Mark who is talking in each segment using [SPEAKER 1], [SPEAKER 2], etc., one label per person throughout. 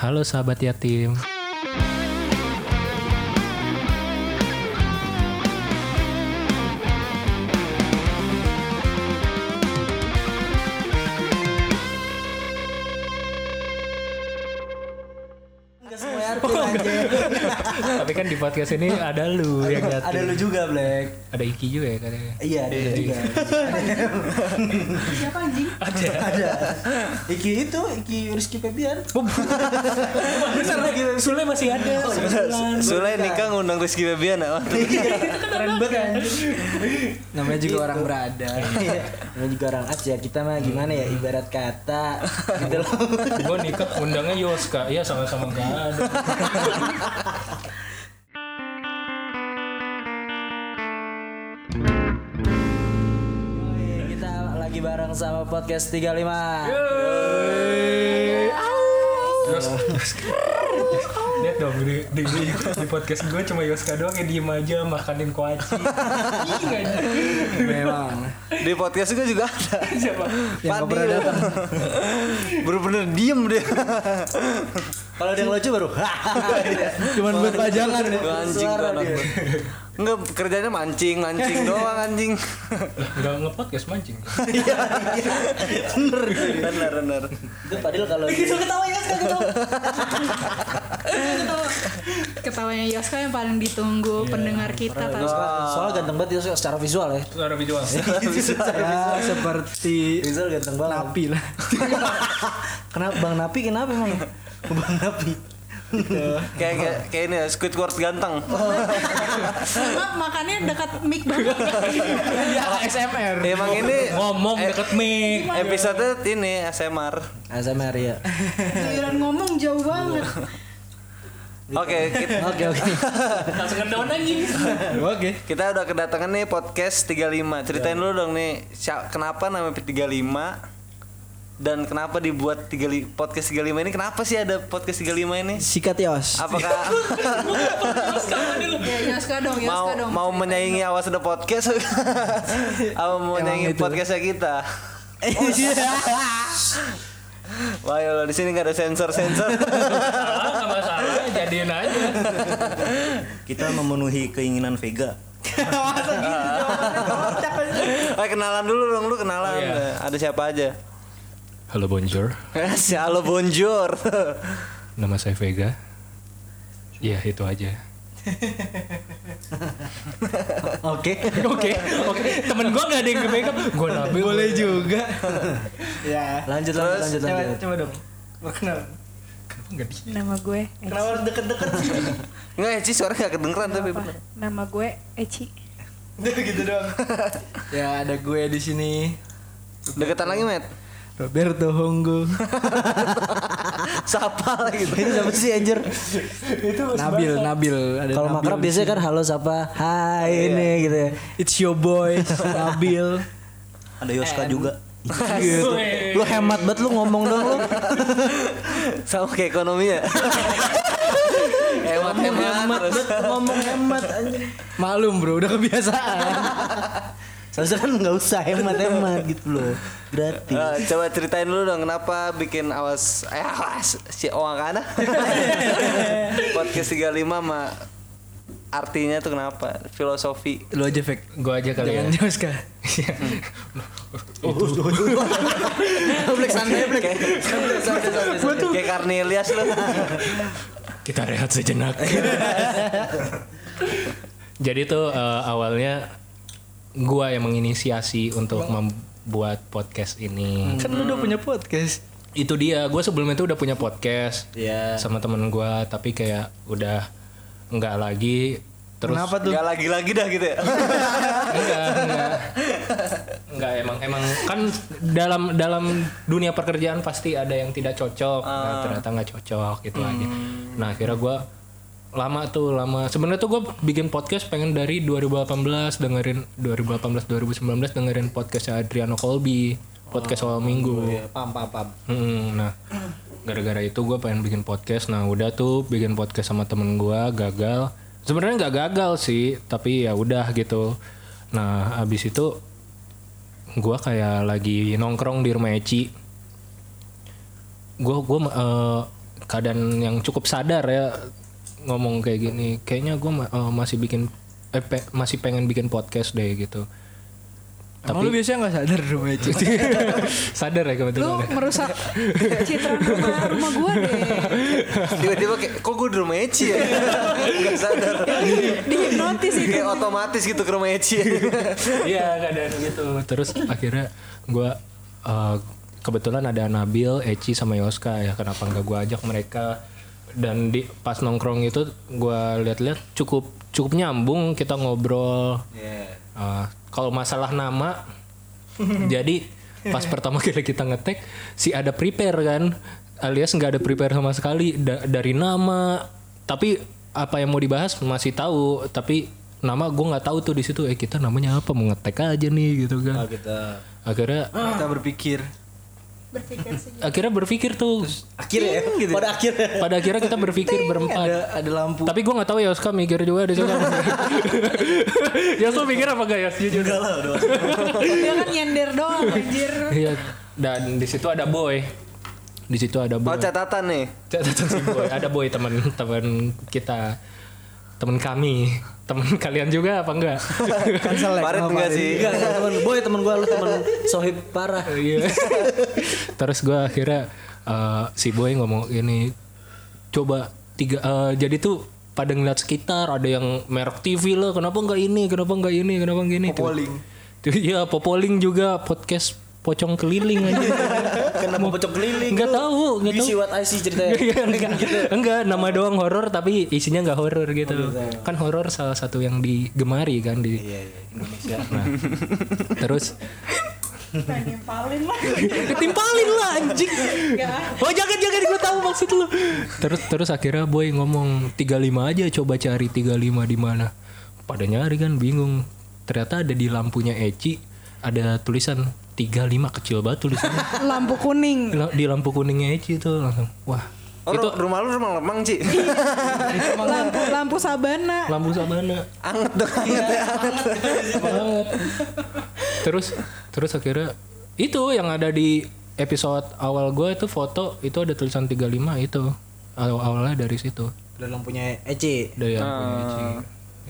[SPEAKER 1] Halo sahabat yatim.
[SPEAKER 2] Enggak semua
[SPEAKER 3] Oh,
[SPEAKER 2] Erpin aja.
[SPEAKER 1] Tapi kan di podcast ini ada lu yang datang.
[SPEAKER 2] Ada lu juga, Black.
[SPEAKER 1] Ada Iki juga ya katanya.
[SPEAKER 2] Iya, ada lu juga.
[SPEAKER 3] Siapa anjing?
[SPEAKER 1] Ada.
[SPEAKER 2] ada. Iki itu, Iki Rizky Febian.
[SPEAKER 3] Oh,
[SPEAKER 1] Sule, Sule masih ada.
[SPEAKER 2] Oh, iya.
[SPEAKER 1] Sule Sulan.
[SPEAKER 4] Sule nikah ngundang Rizky Febian ya, apa?
[SPEAKER 2] Keren banget anjing.
[SPEAKER 3] kan
[SPEAKER 2] Gitu.
[SPEAKER 3] Namanya juga orang berada.
[SPEAKER 2] Iya. Namanya juga orang Asia kita mah gimana ya ibarat kata gitu loh.
[SPEAKER 1] Gua nikah undangnya Yoska. Iya sama-sama enggak ada.
[SPEAKER 2] kita lagi bareng sama podcast
[SPEAKER 3] Iya.
[SPEAKER 2] 35.
[SPEAKER 1] Terus Lihat dong di, di, di, di podcast gue cuma Yoska doang yang diem aja makanin kuaci. Iya
[SPEAKER 3] Memang.
[SPEAKER 4] Ah. Di podcast gue juga ada.
[SPEAKER 1] Siapa?
[SPEAKER 4] Yang pernah datang. Bener-bener diem dia.
[SPEAKER 2] Kalau ada yang lucu baru.
[SPEAKER 3] Cuman buat pajangan ya.
[SPEAKER 4] Lu anjing tuh
[SPEAKER 2] Suara
[SPEAKER 4] anak
[SPEAKER 2] dia.
[SPEAKER 4] gua. Enggak kerjanya mancing, mancing doang anjing.
[SPEAKER 1] Enggak nge-podcast mancing.
[SPEAKER 4] Bener, bener.
[SPEAKER 2] Itu padahal kalau
[SPEAKER 3] Gitu ketawa ya sekarang ketawa. Ketawa.
[SPEAKER 5] ketawanya Yoska yang paling
[SPEAKER 4] Iya,
[SPEAKER 5] ditunggu pendengar kita tadi.
[SPEAKER 2] soalnya ganteng banget ya secara visual ya.
[SPEAKER 1] Suara visual.
[SPEAKER 3] Ya, seperti
[SPEAKER 2] Rizal ganteng banget.
[SPEAKER 3] napi lah.
[SPEAKER 2] Kenapa Bang Gitu. Napi kenapa emang? Bang Napi.
[SPEAKER 4] Kayak kayak kayak ini ya, Squidward ganteng.
[SPEAKER 5] Maaf, makannya dekat mic banget.
[SPEAKER 3] ASMR.
[SPEAKER 4] Emang ini e-
[SPEAKER 1] Ngomong deket mic.
[SPEAKER 4] episode ini ASMR.
[SPEAKER 2] ASMR ya.
[SPEAKER 5] Giliran ngomong jauh banget.
[SPEAKER 4] Oke, kita,
[SPEAKER 2] Oke oke.
[SPEAKER 1] Langsung ngedown aja.
[SPEAKER 3] Oke.
[SPEAKER 4] kita udah kedatangan nih podcast 35.
[SPEAKER 6] Iya.
[SPEAKER 4] Ceritain dulu dong nih sya- kenapa namanya 35 dan kenapa dibuat 35 podcast 35 ini? Kenapa sih ada podcast 35 ini?
[SPEAKER 2] Sikat Yos.
[SPEAKER 4] Apakah
[SPEAKER 5] Ya, Yoska dong, Yoska
[SPEAKER 4] mau
[SPEAKER 5] dong.
[SPEAKER 4] mau menyaingi awas ada podcast apa mau menyaingi podcastnya kita
[SPEAKER 2] Iya.
[SPEAKER 4] wah ya Allah, di sini nggak ada sensor sensor
[SPEAKER 1] Salah nggak masalah, jadiin aja.
[SPEAKER 6] Kita memenuhi keinginan Vega.
[SPEAKER 4] Wah, kenalan dulu gitu dong lu kenalan
[SPEAKER 1] Oh, iya.
[SPEAKER 4] ada siapa aja
[SPEAKER 1] Halo Bonjour,
[SPEAKER 4] Si halo bonjour
[SPEAKER 1] nama saya Vega. Iya itu aja.
[SPEAKER 2] Oke.
[SPEAKER 1] Oke, oke. Temen gue gak ada yang kebaikan. Gue nabi boleh juga.
[SPEAKER 3] Ya.
[SPEAKER 2] Lanjut lanjut lanjut
[SPEAKER 3] Coba
[SPEAKER 2] lanjut.
[SPEAKER 3] coba dong. Perkenalan.
[SPEAKER 1] Kenapa nggak di?
[SPEAKER 5] Nama gue Eci.
[SPEAKER 3] Kenapa harus deket-deket sih?
[SPEAKER 4] nggak ya Ci, suara nggak kedengeran tapi
[SPEAKER 5] Apa?
[SPEAKER 4] bener
[SPEAKER 5] Nama gue Eci.
[SPEAKER 3] Udah gitu doang. Ya, ada gue di sini.
[SPEAKER 4] deketan lagi met
[SPEAKER 3] Roberto Honggo.
[SPEAKER 4] sapa lagi
[SPEAKER 2] Itu siapa sih anjir?
[SPEAKER 3] Nabil, Nabil. Ada
[SPEAKER 2] Kalau
[SPEAKER 3] Nabil
[SPEAKER 2] makrab
[SPEAKER 3] di
[SPEAKER 2] biasanya
[SPEAKER 3] sini.
[SPEAKER 2] kan halo siapa? Hai ini gitu ya.
[SPEAKER 3] It's your boy, Nabil.
[SPEAKER 6] Ada
[SPEAKER 4] Eh,
[SPEAKER 6] Yoska juga.
[SPEAKER 2] Gitu. Lu hemat banget lu ngomong dong lu.
[SPEAKER 4] sama kayak ekonominya hemat hemat terus
[SPEAKER 2] Ngomong hemat anjir.
[SPEAKER 3] Malum bro, udah kebiasaan.
[SPEAKER 2] Seharusnya kan nggak usah hemat-hemat gitu loh. Gratis.
[SPEAKER 4] Eh, coba ceritain dulu dong kenapa bikin awas eh awas si Oang kana podcast 35 sama artinya tuh kenapa filosofi
[SPEAKER 3] Lu aja fake.
[SPEAKER 1] Gue aja kali ya.
[SPEAKER 3] Jangan jauh kan.
[SPEAKER 4] Black santai Black kayak Cornelius lu
[SPEAKER 1] Kita rehat sejenak. Jadi tuh eh, awalnya gue yang menginisiasi untuk membuat podcast ini.
[SPEAKER 3] Kan lu udah punya podcast.
[SPEAKER 1] Itu dia. Gue sebelum itu udah punya podcast
[SPEAKER 2] Iya.
[SPEAKER 1] sama temen gue, tapi kayak udah nggak lagi. Terus
[SPEAKER 3] Kenapa tuh?
[SPEAKER 4] nggak lagi lagi dah gitu ya
[SPEAKER 1] enggak enggak enggak emang emang kan dalam dalam dunia pekerjaan pasti ada yang tidak cocok nah, ternyata nggak cocok gitu aja nah akhirnya gue lama tuh lama sebenarnya tuh gue bikin podcast pengen dari 2018 dengerin 2018 2019 dengerin podcast Adriano Colby podcast awal minggu
[SPEAKER 2] Pam pam pam.
[SPEAKER 1] Hmm, nah gara-gara itu gue pengen bikin podcast nah udah tuh bikin podcast sama temen gue gagal sebenarnya nggak gagal sih tapi ya udah gitu nah abis itu gue kayak lagi nongkrong di rumah Eci gue gue eh, keadaan yang cukup sadar ya ngomong kayak gini kayaknya gue masih bikin eh, pe- masih pengen bikin podcast deh gitu
[SPEAKER 3] Emang lu biasanya gak sadar rumah itu?
[SPEAKER 1] sadar ya
[SPEAKER 5] Lu
[SPEAKER 1] kebetulan ya.
[SPEAKER 5] merusak citra rumah, rumah gue deh.
[SPEAKER 4] Tiba-tiba kayak kok gue di rumah Eci ya? Gak sadar. gitu
[SPEAKER 5] Dihipnotis itu.
[SPEAKER 4] Kayak otomatis gitu ke rumah Eci.
[SPEAKER 1] iya keadaan gitu terus akhirnya gue kebetulan ada Nabil Eci sama Yoska ya kenapa nggak gue ajak mereka dan di pas nongkrong itu gue lihat-lihat cukup cukup nyambung kita ngobrol Eh, kalau masalah nama jadi pas pertama kali kita ngetek si ada prepare kan alias nggak ada prepare sama sekali da- dari nama tapi apa yang mau dibahas masih tahu tapi nama gue nggak tahu tuh di situ eh kita namanya apa mau ngetek aja nih gitu kan
[SPEAKER 2] kita
[SPEAKER 1] akhirnya
[SPEAKER 3] Kita berpikir
[SPEAKER 5] Berpikir sih.
[SPEAKER 1] akhirnya berpikir tuh
[SPEAKER 2] akhirnya ya pada akhirnya
[SPEAKER 1] pada akhirnya kita berpikir berempat
[SPEAKER 3] Ada, ada lampu
[SPEAKER 1] tapi gue nggak tahu ya Yoska mikir juga di situ Yoska mikir apa gak Yos jujur
[SPEAKER 6] Enggak lah udah.
[SPEAKER 5] Dia kan nyender doang anjir.
[SPEAKER 1] Iya. Dan di situ ada boy. Di situ ada boy.
[SPEAKER 4] Oh catatan nih.
[SPEAKER 1] Catatan si boy. Ada boy teman-teman kita, teman kami, teman kalian juga apa enggak?
[SPEAKER 2] cancel
[SPEAKER 4] Parit enggak sih?
[SPEAKER 2] Enggak, enggak, temen boy temen gue lu temen sohib parah
[SPEAKER 1] Iya. Terus gue akhirnya eh, si boy ngomong ini coba tiga eh, jadi tuh pada ngeliat sekitar ada yang merek TV lah kenapa nggak ini kenapa nggak ini kenapa nggak ini Popoling iya Popoling juga podcast pocong keliling aja
[SPEAKER 2] kenapa Kan pocong keliling
[SPEAKER 1] nggak
[SPEAKER 2] lu?
[SPEAKER 1] tahu nggak
[SPEAKER 2] you
[SPEAKER 1] tahu
[SPEAKER 2] see what I see ceritanya
[SPEAKER 1] Iya, enggak, enggak nama doang horor tapi isinya enggak horor gitu. Kan horor salah satu yang digemari kan di Indonesia. Nah, terus
[SPEAKER 5] Pengen paling lah.
[SPEAKER 1] ketimpalin lah anjing. Oh jangan jangan gue tahu maksud lu. Terus terus akhirnya boy ngomong 35 aja coba cari 35 di mana. Pada nyari kan bingung. Ternyata ada di lampunya Eci ada tulisan 35 kecil banget tulisannya.
[SPEAKER 5] Lampu kuning.
[SPEAKER 1] di lampu kuningnya Eci itu langsung wah
[SPEAKER 4] Oh ru- rumah lu rumah lemang Ci.
[SPEAKER 5] Lampu lampu sabana.
[SPEAKER 1] lampu sabana
[SPEAKER 4] Anget dong anget ya.
[SPEAKER 1] banget. terus terus akhirnya itu yang ada di episode awal gue itu foto itu ada tulisan 35 itu awal awalnya dari situ
[SPEAKER 2] udah lampunya Eci
[SPEAKER 1] dari yang punya
[SPEAKER 4] Ah.
[SPEAKER 1] Eci.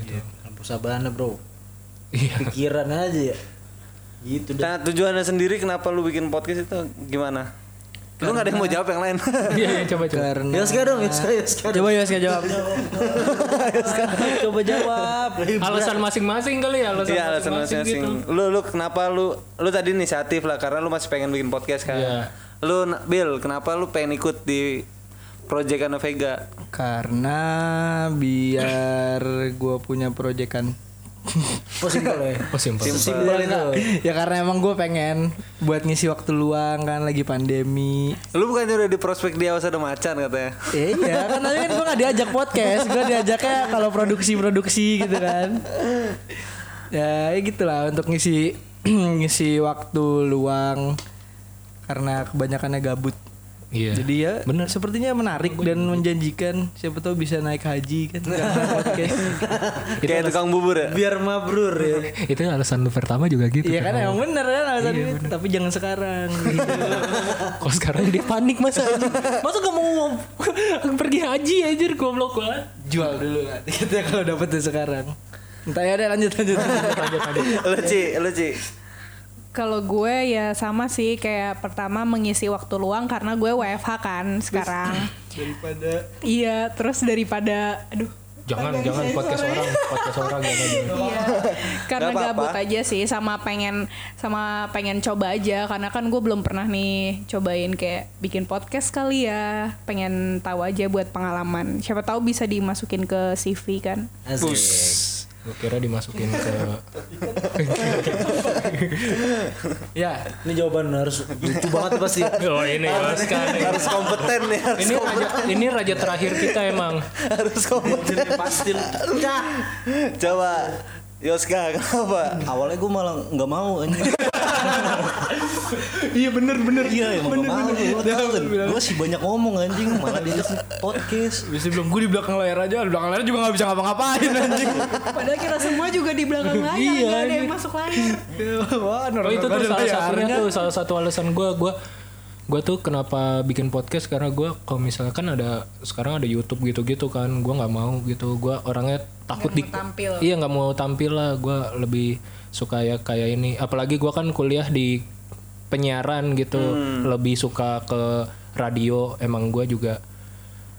[SPEAKER 1] gitu
[SPEAKER 2] lampu sabana bro
[SPEAKER 1] iya
[SPEAKER 2] pikiran aja ya gitu
[SPEAKER 4] Nah tujuannya sendiri kenapa lu bikin podcast itu gimana? Lu gak ada yang mau jawab yang lain.
[SPEAKER 1] iya iya, coba coba
[SPEAKER 2] karena Yoska Ya, dong Yoska Yoska
[SPEAKER 3] Coba ya saya jawab
[SPEAKER 2] coba jawab
[SPEAKER 1] alasan masing-masing kali ya alasan
[SPEAKER 4] Iya alasan
[SPEAKER 1] masing-masing
[SPEAKER 4] masing-masing.
[SPEAKER 1] gitu
[SPEAKER 4] Lu lu kenapa lu lu tadi inisiatif lah karena lu masih pengen bikin podcast kan.
[SPEAKER 1] Iya.
[SPEAKER 4] Lu Na- Bill kenapa lu pengen ikut di Project Ana Vega?
[SPEAKER 3] Karena biar gue punya proyekan
[SPEAKER 2] positif ya
[SPEAKER 1] oh simpel
[SPEAKER 2] simpel itu
[SPEAKER 3] Ya karena emang gue pengen Buat ngisi waktu luang kan lagi pandemi
[SPEAKER 4] Lu bukannya udah di prospek di awas ada macan katanya.
[SPEAKER 3] Eh, iya kan tapi kan gue gak diajak podcast Gue diajaknya kalau produksi-produksi gitu kan Ya ya gitulah untuk ngisi ngisi waktu luang Karena kebanyakannya gabut
[SPEAKER 1] iya
[SPEAKER 3] Jadi ya
[SPEAKER 1] Bener.
[SPEAKER 3] sepertinya menarik dan menjanjikan Siapa tahu bisa naik haji kan karena podcast.
[SPEAKER 4] Kayak tukang bubur ya.
[SPEAKER 1] Iya.
[SPEAKER 2] biar mabrur ya
[SPEAKER 1] itu alasan lu pertama juga gitu
[SPEAKER 3] Iya kan
[SPEAKER 1] kan?
[SPEAKER 3] emang bener kan alasan itu. Tapi jangan sekarang gitu.
[SPEAKER 1] Kok sekarang dia panik masa anjing? Masa gak mau pergi haji anjir goblok banget.
[SPEAKER 3] Jual dulu lah Gitu ya kalau dapet tuh sekarang Entah ya deh lanjut lanjut
[SPEAKER 4] Lu Ci, lu Ci.
[SPEAKER 5] Kalau gue ya sama sih kayak pertama mengisi waktu luang karena gue WFH kan sekarang.
[SPEAKER 3] Daripada
[SPEAKER 5] Iya, terus daripada aduh
[SPEAKER 1] Jangan jangan podcast orang, podcast orang jangan.
[SPEAKER 5] Iya. karena
[SPEAKER 4] Gak apa-apa.
[SPEAKER 5] gabut aja sih sama pengen sama pengen coba aja karena kan gue belum pernah nih cobain kayak bikin podcast kali ya pengen tahu aja buat pengalaman siapa tahu bisa dimasukin ke CV kan
[SPEAKER 2] asik
[SPEAKER 1] Gue kira dimasukin ke
[SPEAKER 3] Ya
[SPEAKER 2] ini jawaban harus lucu banget pasti
[SPEAKER 1] Oh ini Yoska nih.
[SPEAKER 4] Harus kompeten nih, harus
[SPEAKER 1] Ini raja ini raja terakhir kita emang.
[SPEAKER 4] harus kompeten.
[SPEAKER 2] pasti
[SPEAKER 4] Coba Yoska kenapa?
[SPEAKER 6] Awalnya gue malah nggak mau anjing.
[SPEAKER 3] Iya bener bener
[SPEAKER 6] Iya, emang nggak mau. Gue sih banyak ngomong anjing, malah diajak podcast.
[SPEAKER 3] Biasanya belum gue di belakang layar aja Di belakang layar juga gak bisa ngapa-ngapain anjing
[SPEAKER 5] padahal kita semua juga di belakang layar
[SPEAKER 3] Iya,
[SPEAKER 5] nggak ada
[SPEAKER 3] ini-
[SPEAKER 5] yang masuk layar
[SPEAKER 3] Wah
[SPEAKER 1] Oh itu tuh
[SPEAKER 3] normal-normal
[SPEAKER 1] salah
[SPEAKER 3] layarnya.
[SPEAKER 1] satunya tuh salah satu alasan gue gue gue tuh kenapa bikin podcast karena gue kalau misalnya kan ada sekarang ada YouTube gitu-gitu kan gue nggak mau gitu gue orangnya takut di
[SPEAKER 5] tampil.
[SPEAKER 1] iya nggak mau tampil lah gue lebih suka ya kayak ini apalagi gue kan kuliah di penyiaran gitu lebih suka ke radio emang gue juga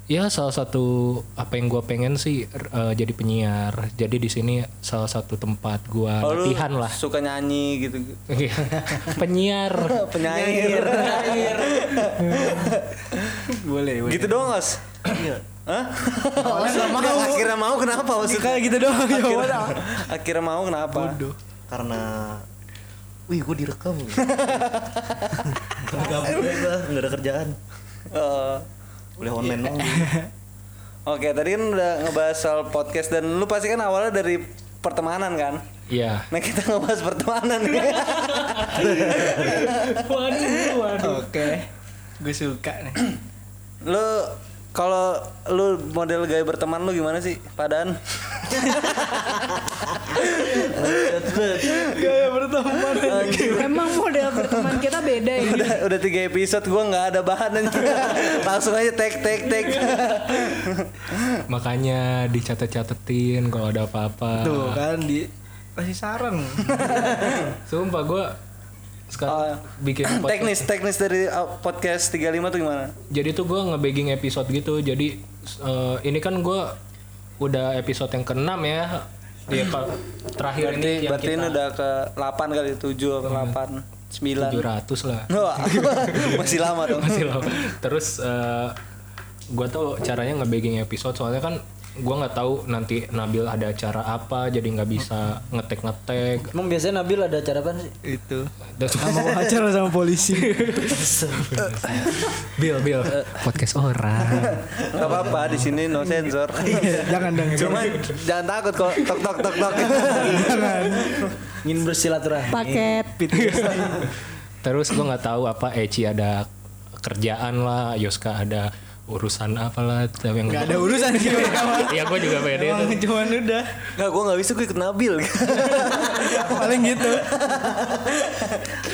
[SPEAKER 1] ya salah satu apa yang gue pengen sih r- eh, jadi penyiar jadi di sini salah satu tempat gue
[SPEAKER 4] Kalau lu
[SPEAKER 1] latihan lah
[SPEAKER 4] suka nyanyi gitu.
[SPEAKER 1] Iya. penyiar
[SPEAKER 4] Penyair.
[SPEAKER 2] boleh boleh
[SPEAKER 4] gitu doang, Os. Hah? Nggak, Akhirnya mau kenapa maksudnya?
[SPEAKER 3] Kayak gitu doang ya
[SPEAKER 4] Akhirnya, akhirnya mau kenapa?
[SPEAKER 6] karena wih gue direkam gitu. gabut aja nggak ada kerjaan
[SPEAKER 4] Eh,
[SPEAKER 6] boleh online dong
[SPEAKER 4] Oke, tadi kan udah ngebahas soal podcast dan lu pasti kan awalnya dari pertemanan kan?
[SPEAKER 1] Iya.
[SPEAKER 4] Nah kita ngebahas pertemanan nih.
[SPEAKER 2] oke gue suka nih
[SPEAKER 4] lu kalau lu model gaya berteman lu gimana sih? Padaan?
[SPEAKER 5] Emang model berteman kita beda ya.
[SPEAKER 4] udah udah tiga episode gua nggak ada bahan anjing. Langsung aja tek tek tek.
[SPEAKER 1] Makanya dicatat-catetin kalau ada apa-apa.
[SPEAKER 2] tuh kan di kasih saran
[SPEAKER 1] Sumpah gue sekarang bikin Iya, podcast.
[SPEAKER 4] teknis teknis dari uh, podcast 35 tuh gimana?
[SPEAKER 1] Jadi tuh gue nge-bagging episode gitu. Jadi eh, ini kan gue udah episode yang ke-6 ya. Iya, Pak. terakhir
[SPEAKER 4] Berarti
[SPEAKER 1] ini yang
[SPEAKER 4] berarti ini
[SPEAKER 1] kita Iya.
[SPEAKER 4] udah ke 8 kali 7 ke 8 9.
[SPEAKER 1] 700 lah.
[SPEAKER 4] Wah, masih lama dong.
[SPEAKER 1] Masih loh. Terus gue tuh caranya nge-bagging episode soalnya kan gue nggak tahu nanti Nabil ada acara apa jadi nggak bisa ngetek-ngetek
[SPEAKER 2] emang biasanya Nabil ada cara apa sih itu
[SPEAKER 1] Dan-
[SPEAKER 3] Mau acara sama polisi.
[SPEAKER 1] Bill, Bill. Eh, Podcast orang.
[SPEAKER 4] Gak apa-apa di sini no sensor.
[SPEAKER 3] Iya, jangan dong.
[SPEAKER 4] Cuman jangan takut kok tok tok tok tok.
[SPEAKER 2] ingin bersilaturahmi
[SPEAKER 5] Paket.
[SPEAKER 1] Terus gue nggak tahu apa Eci ada kerjaan lah, Yoska ada urusan apalah tapi yang
[SPEAKER 3] Gak ada urusan sih gue sama.
[SPEAKER 1] ya gue juga pede
[SPEAKER 3] Emang
[SPEAKER 1] tuh.
[SPEAKER 3] cuman udah.
[SPEAKER 4] Enggak gua nggak bisa gue ikut Nabil.
[SPEAKER 3] Paling gitu.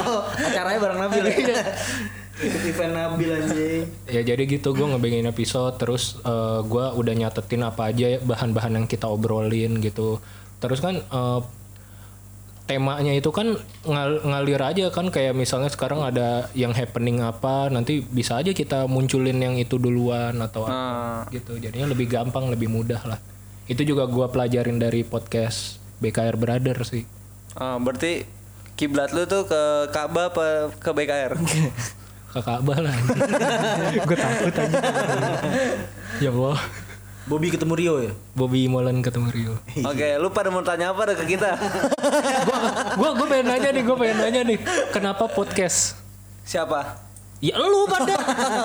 [SPEAKER 2] oh acaranya bareng Nabil
[SPEAKER 3] Iya.
[SPEAKER 2] ikut event Nabil anjing
[SPEAKER 1] ya jadi gitu gue ngebengin episode terus eh, gua gue udah nyatetin apa aja ya, bahan-bahan yang kita obrolin gitu terus kan eh, temanya itu kan ngal- ngalir aja kan kayak misalnya sekarang ada yang happening apa nanti bisa aja kita munculin yang itu duluan atau apa
[SPEAKER 4] Ah,
[SPEAKER 1] gitu jadinya lebih gampang lebih mudah lah itu juga gua pelajarin dari podcast BKR Brother sih
[SPEAKER 4] Ah, berarti kiblat lu tuh ke Ka'bah apa ke BKR?
[SPEAKER 1] kakak abah lah gue takut aja ya Allah
[SPEAKER 2] Bobby ketemu Rio ya
[SPEAKER 1] Bobby Molen ketemu Rio
[SPEAKER 4] Oke, lu pada mau tanya apa dah ke kita?
[SPEAKER 1] gue gue pengen nanya nih gue pengen nanya nih kenapa podcast
[SPEAKER 4] Siapa?
[SPEAKER 1] ya lu pada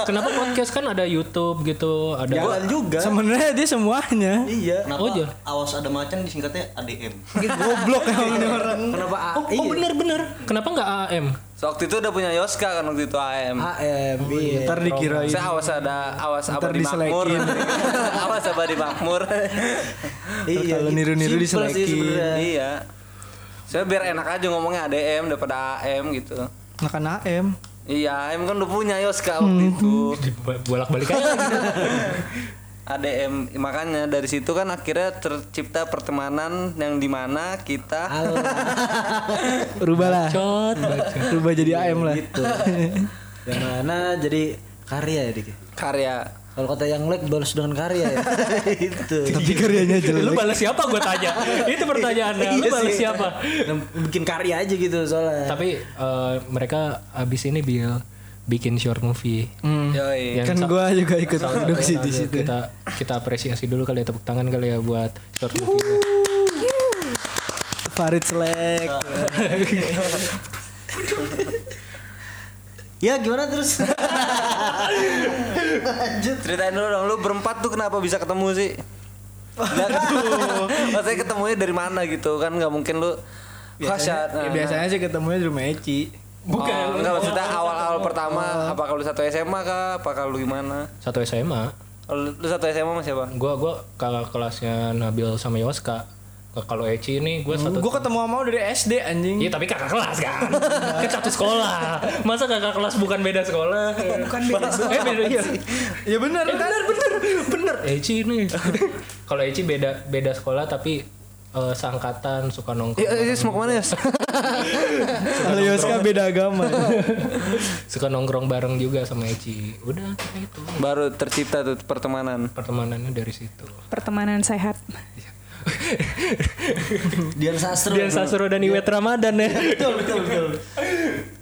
[SPEAKER 1] kenapa podcast kan ada YouTube gitu
[SPEAKER 3] Ya.
[SPEAKER 1] ada
[SPEAKER 2] jalan juga
[SPEAKER 3] Sebenarnya dia semuanya.
[SPEAKER 6] iya kenapa
[SPEAKER 1] Oh, iya.
[SPEAKER 6] awas ada macan disingkatnya ADM
[SPEAKER 3] Goblok emang ini orang.
[SPEAKER 2] Iya. kenapa A iya.
[SPEAKER 1] oh, oh bener bener kenapa nggak AM
[SPEAKER 4] So, waktu itu udah punya Yoska kan waktu itu AM.
[SPEAKER 2] AM
[SPEAKER 3] Ntar dikirain.
[SPEAKER 4] Saya awas ada awas apa
[SPEAKER 3] Ntar
[SPEAKER 4] di makmur.
[SPEAKER 3] diselekin.
[SPEAKER 4] awas apa di makmur.
[SPEAKER 3] Iya, kalau niru-niru
[SPEAKER 2] Simple sih
[SPEAKER 3] diselekin.
[SPEAKER 2] sebenarnya.
[SPEAKER 4] iya. Saya biar enak aja ngomongnya ADM daripada AM gitu.
[SPEAKER 3] Makan AM.
[SPEAKER 4] Iya, AM kan udah punya Yoska waktu
[SPEAKER 3] Hmm.
[SPEAKER 4] itu.
[SPEAKER 1] bolak balik aja
[SPEAKER 4] ADM makanya dari situ kan akhirnya tercipta pertemanan yang dimana kita
[SPEAKER 3] Rubahlah.
[SPEAKER 1] Cot.
[SPEAKER 3] Rubah jadi AM lah.
[SPEAKER 2] gitu yang mana jadi karya ya dik
[SPEAKER 4] karya
[SPEAKER 2] kalau kata yang like balas dengan karya ya itu
[SPEAKER 3] Tapi karyanya
[SPEAKER 1] lu
[SPEAKER 3] jelek. Iya
[SPEAKER 1] balas siapa gue tanya itu pertanyaannya lu balas siapa
[SPEAKER 2] bikin karya aja gitu soalnya
[SPEAKER 1] tapi eh, mereka abis ini bil bikin short movie
[SPEAKER 4] Yoi.
[SPEAKER 1] Yang
[SPEAKER 3] Kan
[SPEAKER 1] sa-
[SPEAKER 3] gua juga ikut produksi
[SPEAKER 1] Aduh,
[SPEAKER 3] di situ.
[SPEAKER 1] kita kita apresiasi dulu kali ya tepuk tangan kali ya buat short movie
[SPEAKER 3] Farid Selek.
[SPEAKER 2] ya gimana terus lanjut
[SPEAKER 4] Ceritain dulu dong, lu berempat tuh kenapa bisa ketemu sih? Nggak ketemu. Maksudnya ketemunya dari mana gitu kan nggak mungkin lu
[SPEAKER 1] eh,
[SPEAKER 4] Biasanya,
[SPEAKER 3] Ya, biasanya sih ketemunya di rumah Eci.
[SPEAKER 4] Bukan. Oh, enggak maksudnya awal-awal pertama apa kalau lu satu SMA kah? Apa kalau lu gimana?
[SPEAKER 1] satu SMA
[SPEAKER 4] Kalau Lu satu SMA sama siapa?
[SPEAKER 1] gua gua kakak kelasnya Nabil sama Yoska kalau Eci ini gue satu
[SPEAKER 3] Gue ketemu sama lu dari SD anjing.
[SPEAKER 1] Iya tapi kakak kelas kan Kan satu sekolah Masa kakak kelas bukan beda sekolah Bukan beda sekolah Eh beda iya
[SPEAKER 3] Ya benar
[SPEAKER 1] Eh,
[SPEAKER 3] kan?
[SPEAKER 1] bener bener bener Eci ini Kalau Eci beda beda sekolah tapi eh, Seangkatan suka nongkrong
[SPEAKER 4] Iya, iya, mau kemana ya?
[SPEAKER 3] Kalau Yoska beda agama.
[SPEAKER 1] Suka nongkrong bareng juga sama Eci Udah kayak itu
[SPEAKER 4] Baru tercipta tuh pertemanan.
[SPEAKER 1] Pertemanannya dari situ
[SPEAKER 5] Pertemanan sehat.
[SPEAKER 6] Dian Sastro.
[SPEAKER 1] Dian Sastro dan Iwet Ramadan ya
[SPEAKER 6] Betul betul betul.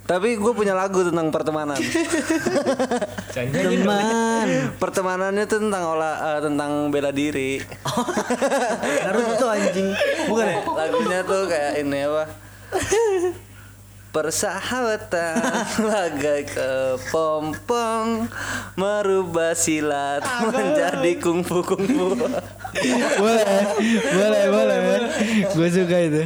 [SPEAKER 4] Tapi gue punya lagu tentang pertemanan.
[SPEAKER 6] Teman.
[SPEAKER 4] Pertemanannya tuh tentang olah eh, tentang bela diri.
[SPEAKER 6] Naruto anjing. Bukan ya?
[SPEAKER 4] Lagunya tuh kayak ini apa? Persahabatan bagai kepompong merubah silat menjadi kungfu kungfu.
[SPEAKER 3] boleh, boleh, boleh. Gue suka itu.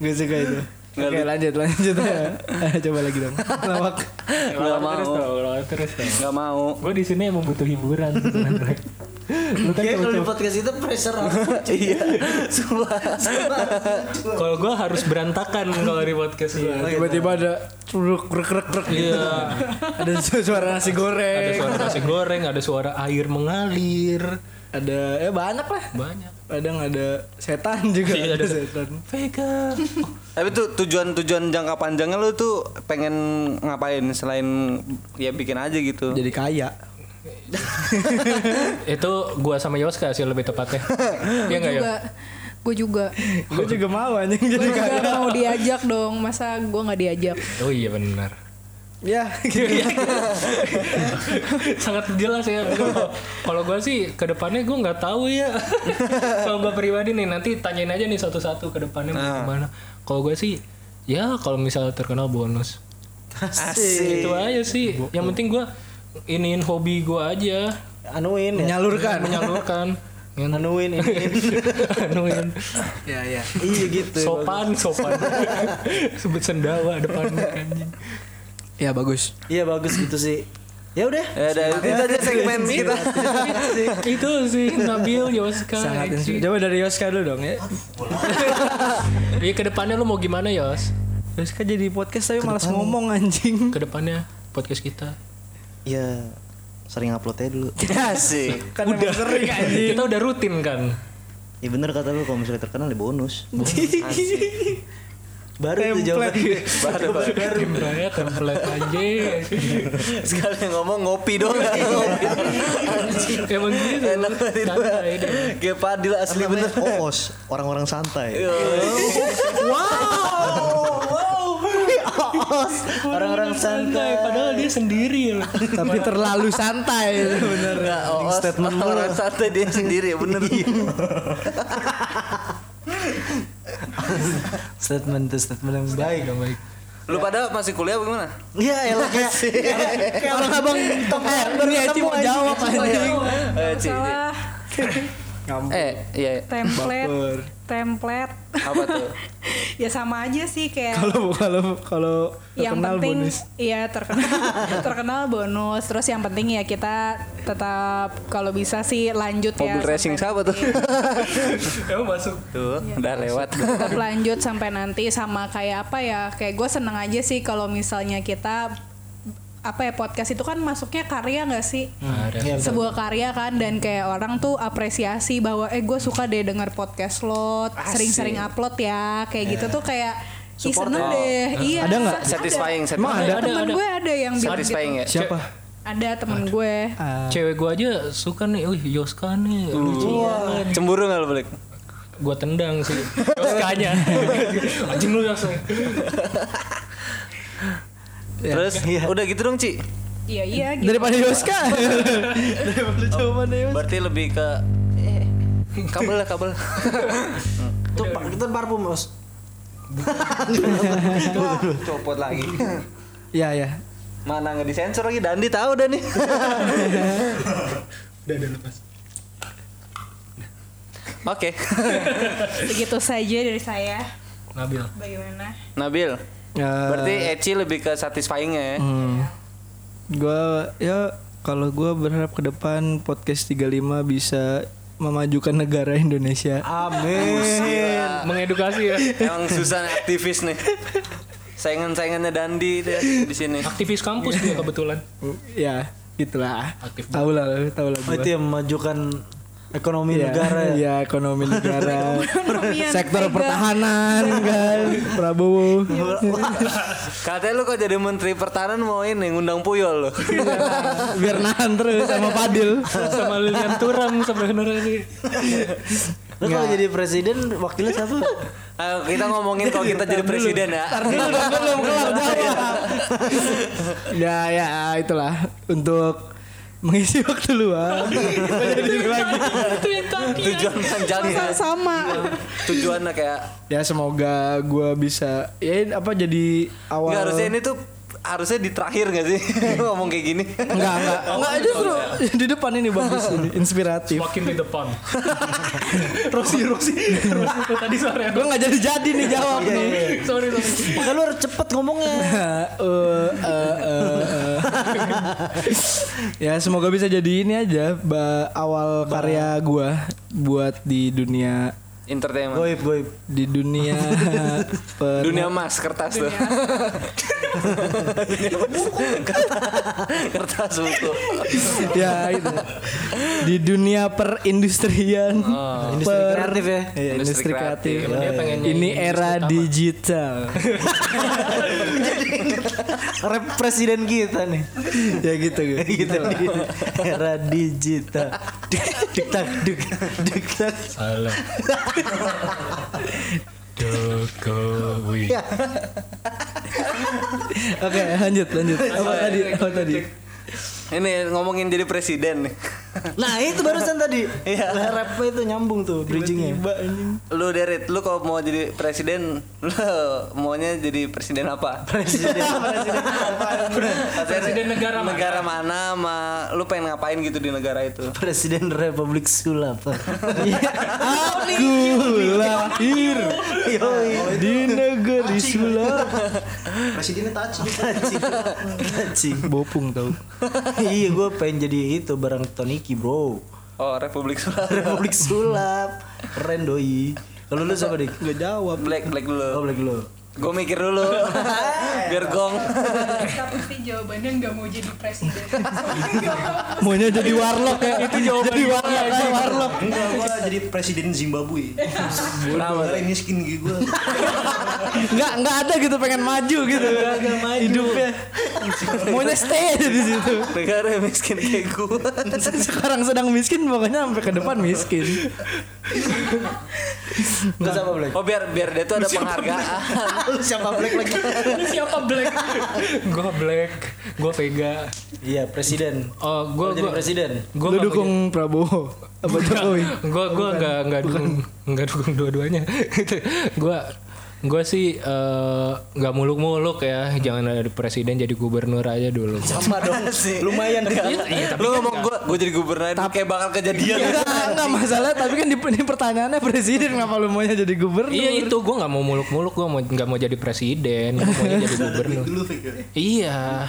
[SPEAKER 3] Gue suka itu.
[SPEAKER 4] Nggak
[SPEAKER 3] Oke lanjut lanjut ya. Eh, Coba lagi dong. Lawak.
[SPEAKER 4] Nggak mau.
[SPEAKER 1] Terus dong, lawak terus dong
[SPEAKER 4] Gak mau.
[SPEAKER 1] Gue di sini emang butuh hiburan sebenarnya. Lu
[SPEAKER 6] Kayak kalau
[SPEAKER 1] kan
[SPEAKER 6] di
[SPEAKER 1] cowok-cowok.
[SPEAKER 6] podcast itu pressure apa?
[SPEAKER 4] Iya, sumpah.
[SPEAKER 1] Kalau gue harus berantakan kalau di podcast gue.
[SPEAKER 3] Iya, Tiba-tiba ada truk krek krek krek gitu.
[SPEAKER 1] Iya.
[SPEAKER 3] Ada su- suara nasi
[SPEAKER 1] Ada
[SPEAKER 3] goreng.
[SPEAKER 1] suara nasi goreng, ada suara air mengalir,
[SPEAKER 3] Ada eh banyak lah.
[SPEAKER 1] banyak.
[SPEAKER 3] Kadang ada setan juga.
[SPEAKER 1] Iya, ada
[SPEAKER 3] ada setan.
[SPEAKER 1] Vega.
[SPEAKER 4] Tapi tuh tujuan-tujuan jangka panjangnya lu tuh pengen ngapain selain ya bikin aja gitu.
[SPEAKER 3] Jadi kaya.
[SPEAKER 1] Itu gue sama Yoska sih lebih tepatnya. Iya nggak ya?
[SPEAKER 5] Juga gue juga
[SPEAKER 3] Gue juga mau anjing jadi
[SPEAKER 5] gue
[SPEAKER 3] kaya.
[SPEAKER 5] juga mau diajak dong masa gue nggak diajak
[SPEAKER 1] Oh iya benar.
[SPEAKER 3] Ya, gitu.
[SPEAKER 1] Sangat jelas ya. Gua- Kalau gue sih ke depannya gue nggak tahu ya. kalau gue pribadi nih nanti tanyain aja nih satu-satu ke depannya mau gimana. Kalau gue sih ya kalau misalnya terkenal bonus.
[SPEAKER 4] Asik.
[SPEAKER 1] itu aja sih yang penting gue iniin hobi gue aja
[SPEAKER 6] Anuin ya.
[SPEAKER 3] menyalurkan.
[SPEAKER 1] menyalurkan Ngen-
[SPEAKER 6] Anuin ini.
[SPEAKER 1] anuin
[SPEAKER 3] Ya, ya.
[SPEAKER 6] Iya gitu.
[SPEAKER 1] sopan sopan sebut sendawa depannya anjing
[SPEAKER 3] Ya bagus.
[SPEAKER 6] Iya bagus gitu sih. Ya udah.
[SPEAKER 4] Ya udah, itu aja segmen kita.
[SPEAKER 1] itu sih Nabil Yoska
[SPEAKER 3] Sangat
[SPEAKER 1] Eci.
[SPEAKER 3] inspir- Coba dari Yoska dulu dong ya.
[SPEAKER 1] iya kedepannya lu mau gimana Yos
[SPEAKER 3] Yoska jadi podcast tapi malas ngomong anjing.
[SPEAKER 1] kedepannya podcast kita
[SPEAKER 6] Ya sering upload aja dulu.
[SPEAKER 4] Asik.
[SPEAKER 3] Kan udah sering anjing.
[SPEAKER 1] kita udah rutin kan
[SPEAKER 6] Ya bener kata lu kalau misalnya terkenal ya bonus. Baru itu jawaban.
[SPEAKER 3] Template. Iya,
[SPEAKER 6] Baru baru.
[SPEAKER 1] template template aja
[SPEAKER 4] Sekalian ngomong ngopi doang. Ngopi.
[SPEAKER 1] emang gitu
[SPEAKER 4] Enak banget itu.
[SPEAKER 1] Santai deh.
[SPEAKER 4] Kayak Padil asli
[SPEAKER 6] Apa
[SPEAKER 4] bener.
[SPEAKER 6] namanya? Oos, Oh, orang-orang
[SPEAKER 3] Iya.
[SPEAKER 6] santai. Oos, orang-orang santai.
[SPEAKER 1] padahal dia sendiri loh
[SPEAKER 3] Tapi terlalu santai bener.
[SPEAKER 4] Enggak, oh,
[SPEAKER 3] statement lu.
[SPEAKER 4] orang santai dia sendiri bener.
[SPEAKER 2] Iya. Statement tuh statement yang baik.
[SPEAKER 1] baik
[SPEAKER 4] Lu pada masih kuliah apa gimana?
[SPEAKER 6] Iya, elah kayak
[SPEAKER 3] Kayak orang abang eh, baru Eci mau jawab anjing.
[SPEAKER 4] Eh, Ci, Ci.
[SPEAKER 5] salah
[SPEAKER 4] Eh, iya. iya.
[SPEAKER 5] template template
[SPEAKER 4] Apa tuh?
[SPEAKER 5] ya sama aja sih kayak
[SPEAKER 3] Kalau kalau kalau
[SPEAKER 5] yang
[SPEAKER 3] terkenal
[SPEAKER 5] penting
[SPEAKER 3] bonus.
[SPEAKER 5] iya terkenal terkenal bonus terus yang penting ya kita tetap kalau bisa sih lanjut
[SPEAKER 4] Mobil
[SPEAKER 5] ya sampai
[SPEAKER 4] racing siapa tuh?
[SPEAKER 1] emang masuk
[SPEAKER 4] Tuh, udah lewat.
[SPEAKER 5] tetap lanjut sampai nanti sama kayak apa ya kayak gue seneng aja sih kalau misalnya kita apa ya podcast itu kan masuknya karya nggak sih
[SPEAKER 3] Nah,
[SPEAKER 1] ada
[SPEAKER 3] Iya,
[SPEAKER 5] sebuah karya kan dan kayak orang tuh apresiasi bahwa eh gue suka deh denger podcast lo sering-sering upload ya kayak gitu tuh kayak Ih seneng deh Iya
[SPEAKER 3] Iya. Ada nggak?
[SPEAKER 4] Satisfying,
[SPEAKER 3] Emang
[SPEAKER 4] satisfying.
[SPEAKER 3] ada?
[SPEAKER 5] Temen gue ada yang bilang gitu
[SPEAKER 4] Satisfying ya?
[SPEAKER 3] Siapa?
[SPEAKER 5] Ada temen gue
[SPEAKER 3] Ah.
[SPEAKER 1] Cewek gua aja suka nih, wih Yoska
[SPEAKER 3] Iya.
[SPEAKER 1] nih, lucu banget.
[SPEAKER 4] Cemburu gak lu balik?
[SPEAKER 1] Gua tendang sih, Yoskanya. Anjing lu Yoska.
[SPEAKER 2] Iya.
[SPEAKER 4] Terus udah gitu dong Ci
[SPEAKER 5] Iya iya gitu
[SPEAKER 3] Daripada Yoska.
[SPEAKER 4] Berarti lebih ke eh, Kabel lah kabel
[SPEAKER 6] tuh Pak, kita parfum, Os.
[SPEAKER 4] Copot lagi
[SPEAKER 3] Ya ya.
[SPEAKER 4] Mana nggak disensor lagi Dandi tahu dah nih Oke
[SPEAKER 5] Begitu saja dari saya
[SPEAKER 1] Nabil.
[SPEAKER 5] Bagaimana
[SPEAKER 4] Nabil
[SPEAKER 3] Ya.
[SPEAKER 4] Berarti Eci lebih ke satisfying ya
[SPEAKER 3] Hmm. Gua ya kalau gua berharap ke depan podcast 35 bisa memajukan negara Indonesia.
[SPEAKER 2] Amin.
[SPEAKER 3] Ah.
[SPEAKER 1] Mengedukasi ya.
[SPEAKER 4] Emang susah nih aktivis nih. Saingan-saingannya Dandi deh di sini.
[SPEAKER 1] Aktivis kampus dia kebetulan.
[SPEAKER 3] Ya, gitulah.
[SPEAKER 1] Aktif
[SPEAKER 3] Tahu lah, tahu lah.
[SPEAKER 2] Oh,
[SPEAKER 3] gua.
[SPEAKER 2] itu yang memajukan ekonomi
[SPEAKER 3] Iya,
[SPEAKER 2] negara ya.
[SPEAKER 3] Iya, ekonomi negara.
[SPEAKER 5] Perekonomian
[SPEAKER 3] Sektor
[SPEAKER 5] Mega.
[SPEAKER 3] pertahanan kan Prabowo.
[SPEAKER 4] Katanya lu kok jadi menteri pertahanan mau ini ngundang puyol lu.
[SPEAKER 3] Biar nahan terus sama Fadil.
[SPEAKER 1] sama Lilian Turam sebenarnya sih.
[SPEAKER 2] Lu kalau jadi presiden wakilnya siapa?
[SPEAKER 4] Ayo kita ngomongin kalau kita jadi presiden ya.
[SPEAKER 3] belum kelar Ya ya itulah untuk mengisi waktu luang. Jadi lagi.
[SPEAKER 5] Itu yang tadi.
[SPEAKER 4] Tujuan panjangnya.
[SPEAKER 5] sama.
[SPEAKER 4] Tujuannya kayak
[SPEAKER 3] Ya semoga gue bisa ya apa jadi awal.
[SPEAKER 4] nggak harusnya ini tuh harusnya di terakhir gak sih ngomong kayak gini.
[SPEAKER 3] Iya. Enggak, enggak. Enggak justru di depan ini bagus ini, inspiratif.
[SPEAKER 1] Makin di depan.
[SPEAKER 3] Rosi, Rosi.
[SPEAKER 1] Itu tadi sore.
[SPEAKER 3] Gue nggak jadi-jadi nih jawab nih.
[SPEAKER 1] Sorry, sorry.
[SPEAKER 2] Makanya lu harus cepet ngomongnya.
[SPEAKER 3] Eh, eh, eh, eh. ya semoga bisa jadi ini aja ba- awal karya gua buat di dunia
[SPEAKER 4] Entertainment.
[SPEAKER 2] Goib, goib.
[SPEAKER 3] di dunia per-
[SPEAKER 4] Dunia emas kertas tuh. Dunia emas. kertas, kertas buku.
[SPEAKER 3] ya itu di dunia perindustrian
[SPEAKER 2] Industri kreatif ya.
[SPEAKER 3] Iya, industri
[SPEAKER 4] Industri kreatif.
[SPEAKER 3] kreatif. Iya,
[SPEAKER 1] Emang dia pengennya
[SPEAKER 3] Ini
[SPEAKER 1] industri
[SPEAKER 3] era
[SPEAKER 1] utama.
[SPEAKER 3] digital.
[SPEAKER 2] Rep presiden kita nih.
[SPEAKER 3] ya gitu gitu.
[SPEAKER 2] Era digital. Dik dik tak dik dik tak.
[SPEAKER 1] Salah. Jokowi.
[SPEAKER 3] Iya. Oke, lanjut lanjut. Apa tadi? Apa tadi?
[SPEAKER 4] Ini ngomongin jadi presiden nih.
[SPEAKER 2] Nah, itu barusan tadi. Iya, repnya itu nyambung tuh bridgingnya.
[SPEAKER 4] Lu Derit, lu kalau mau jadi presiden, lu maunya jadi presiden apa?
[SPEAKER 2] Presiden.
[SPEAKER 4] Presiden
[SPEAKER 1] negara mana?
[SPEAKER 4] negara mana sama lu pengen ngapain gitu di negara itu?
[SPEAKER 2] Presiden Republik Iya. Sulap.
[SPEAKER 3] Aku lahir
[SPEAKER 2] Oh,
[SPEAKER 3] di negeri sulap.
[SPEAKER 6] Presidennya touch.
[SPEAKER 2] Cacing.
[SPEAKER 3] Bopung tau.
[SPEAKER 2] iya gue pengen jadi itu barang Toniki bro
[SPEAKER 4] Oh, Republik Sulawesi.
[SPEAKER 2] Republik Sulap keren doi kalau lu siapa dik gak jawab
[SPEAKER 4] Black, black
[SPEAKER 2] oh
[SPEAKER 4] dulu.
[SPEAKER 2] black lu
[SPEAKER 4] Gue mikir dulu. Biar gong.
[SPEAKER 5] Tapi jawabannya nggak mau jadi presiden.
[SPEAKER 3] Maunya jadi warlock ya. Itu jawaban jadi warlock. ya, warlock.
[SPEAKER 6] Enggak, gua jadi presiden Zimbabwe. Kenapa? Ini skin gigi gua.
[SPEAKER 3] Enggak enggak ada gitu pengen maju gitu. Hidupnya. Maunya stay aja di situ.
[SPEAKER 4] Negara yang miskin kayak gue.
[SPEAKER 3] Sekarang sedang miskin pokoknya sampai ke depan miskin.
[SPEAKER 2] lu siapa black
[SPEAKER 4] Oh, biar biar dia tuh ada penghargaan.
[SPEAKER 2] Oh, lu siapa black lagi
[SPEAKER 1] Siapa Black? gue Black, gue Vega.
[SPEAKER 2] iya presiden
[SPEAKER 1] Oh, gue
[SPEAKER 2] Mau jadi presiden
[SPEAKER 1] Gue
[SPEAKER 3] Lu dukung Prabowo apa Jokowi?
[SPEAKER 1] gue gue nggak nggak dukung nggak dukung dua-duanya gue gue sih eh, nggak muluk-muluk ya jangan ada presiden jadi gubernur aja dulu
[SPEAKER 2] sama dong lumayan
[SPEAKER 3] Iya, kan
[SPEAKER 4] lu ngomong gue, gue jadi gubernur kayak bakal kejadian.
[SPEAKER 3] Enggak, enggak masalah tapi kan di, ini pertanyaannya presiden kenapa lu maunya jadi gubernur?
[SPEAKER 1] iya itu gue nggak mau muluk-muluk gue mau nggak mau jadi presiden gue mau jadi gubernur
[SPEAKER 6] Dulu pikir.
[SPEAKER 1] iya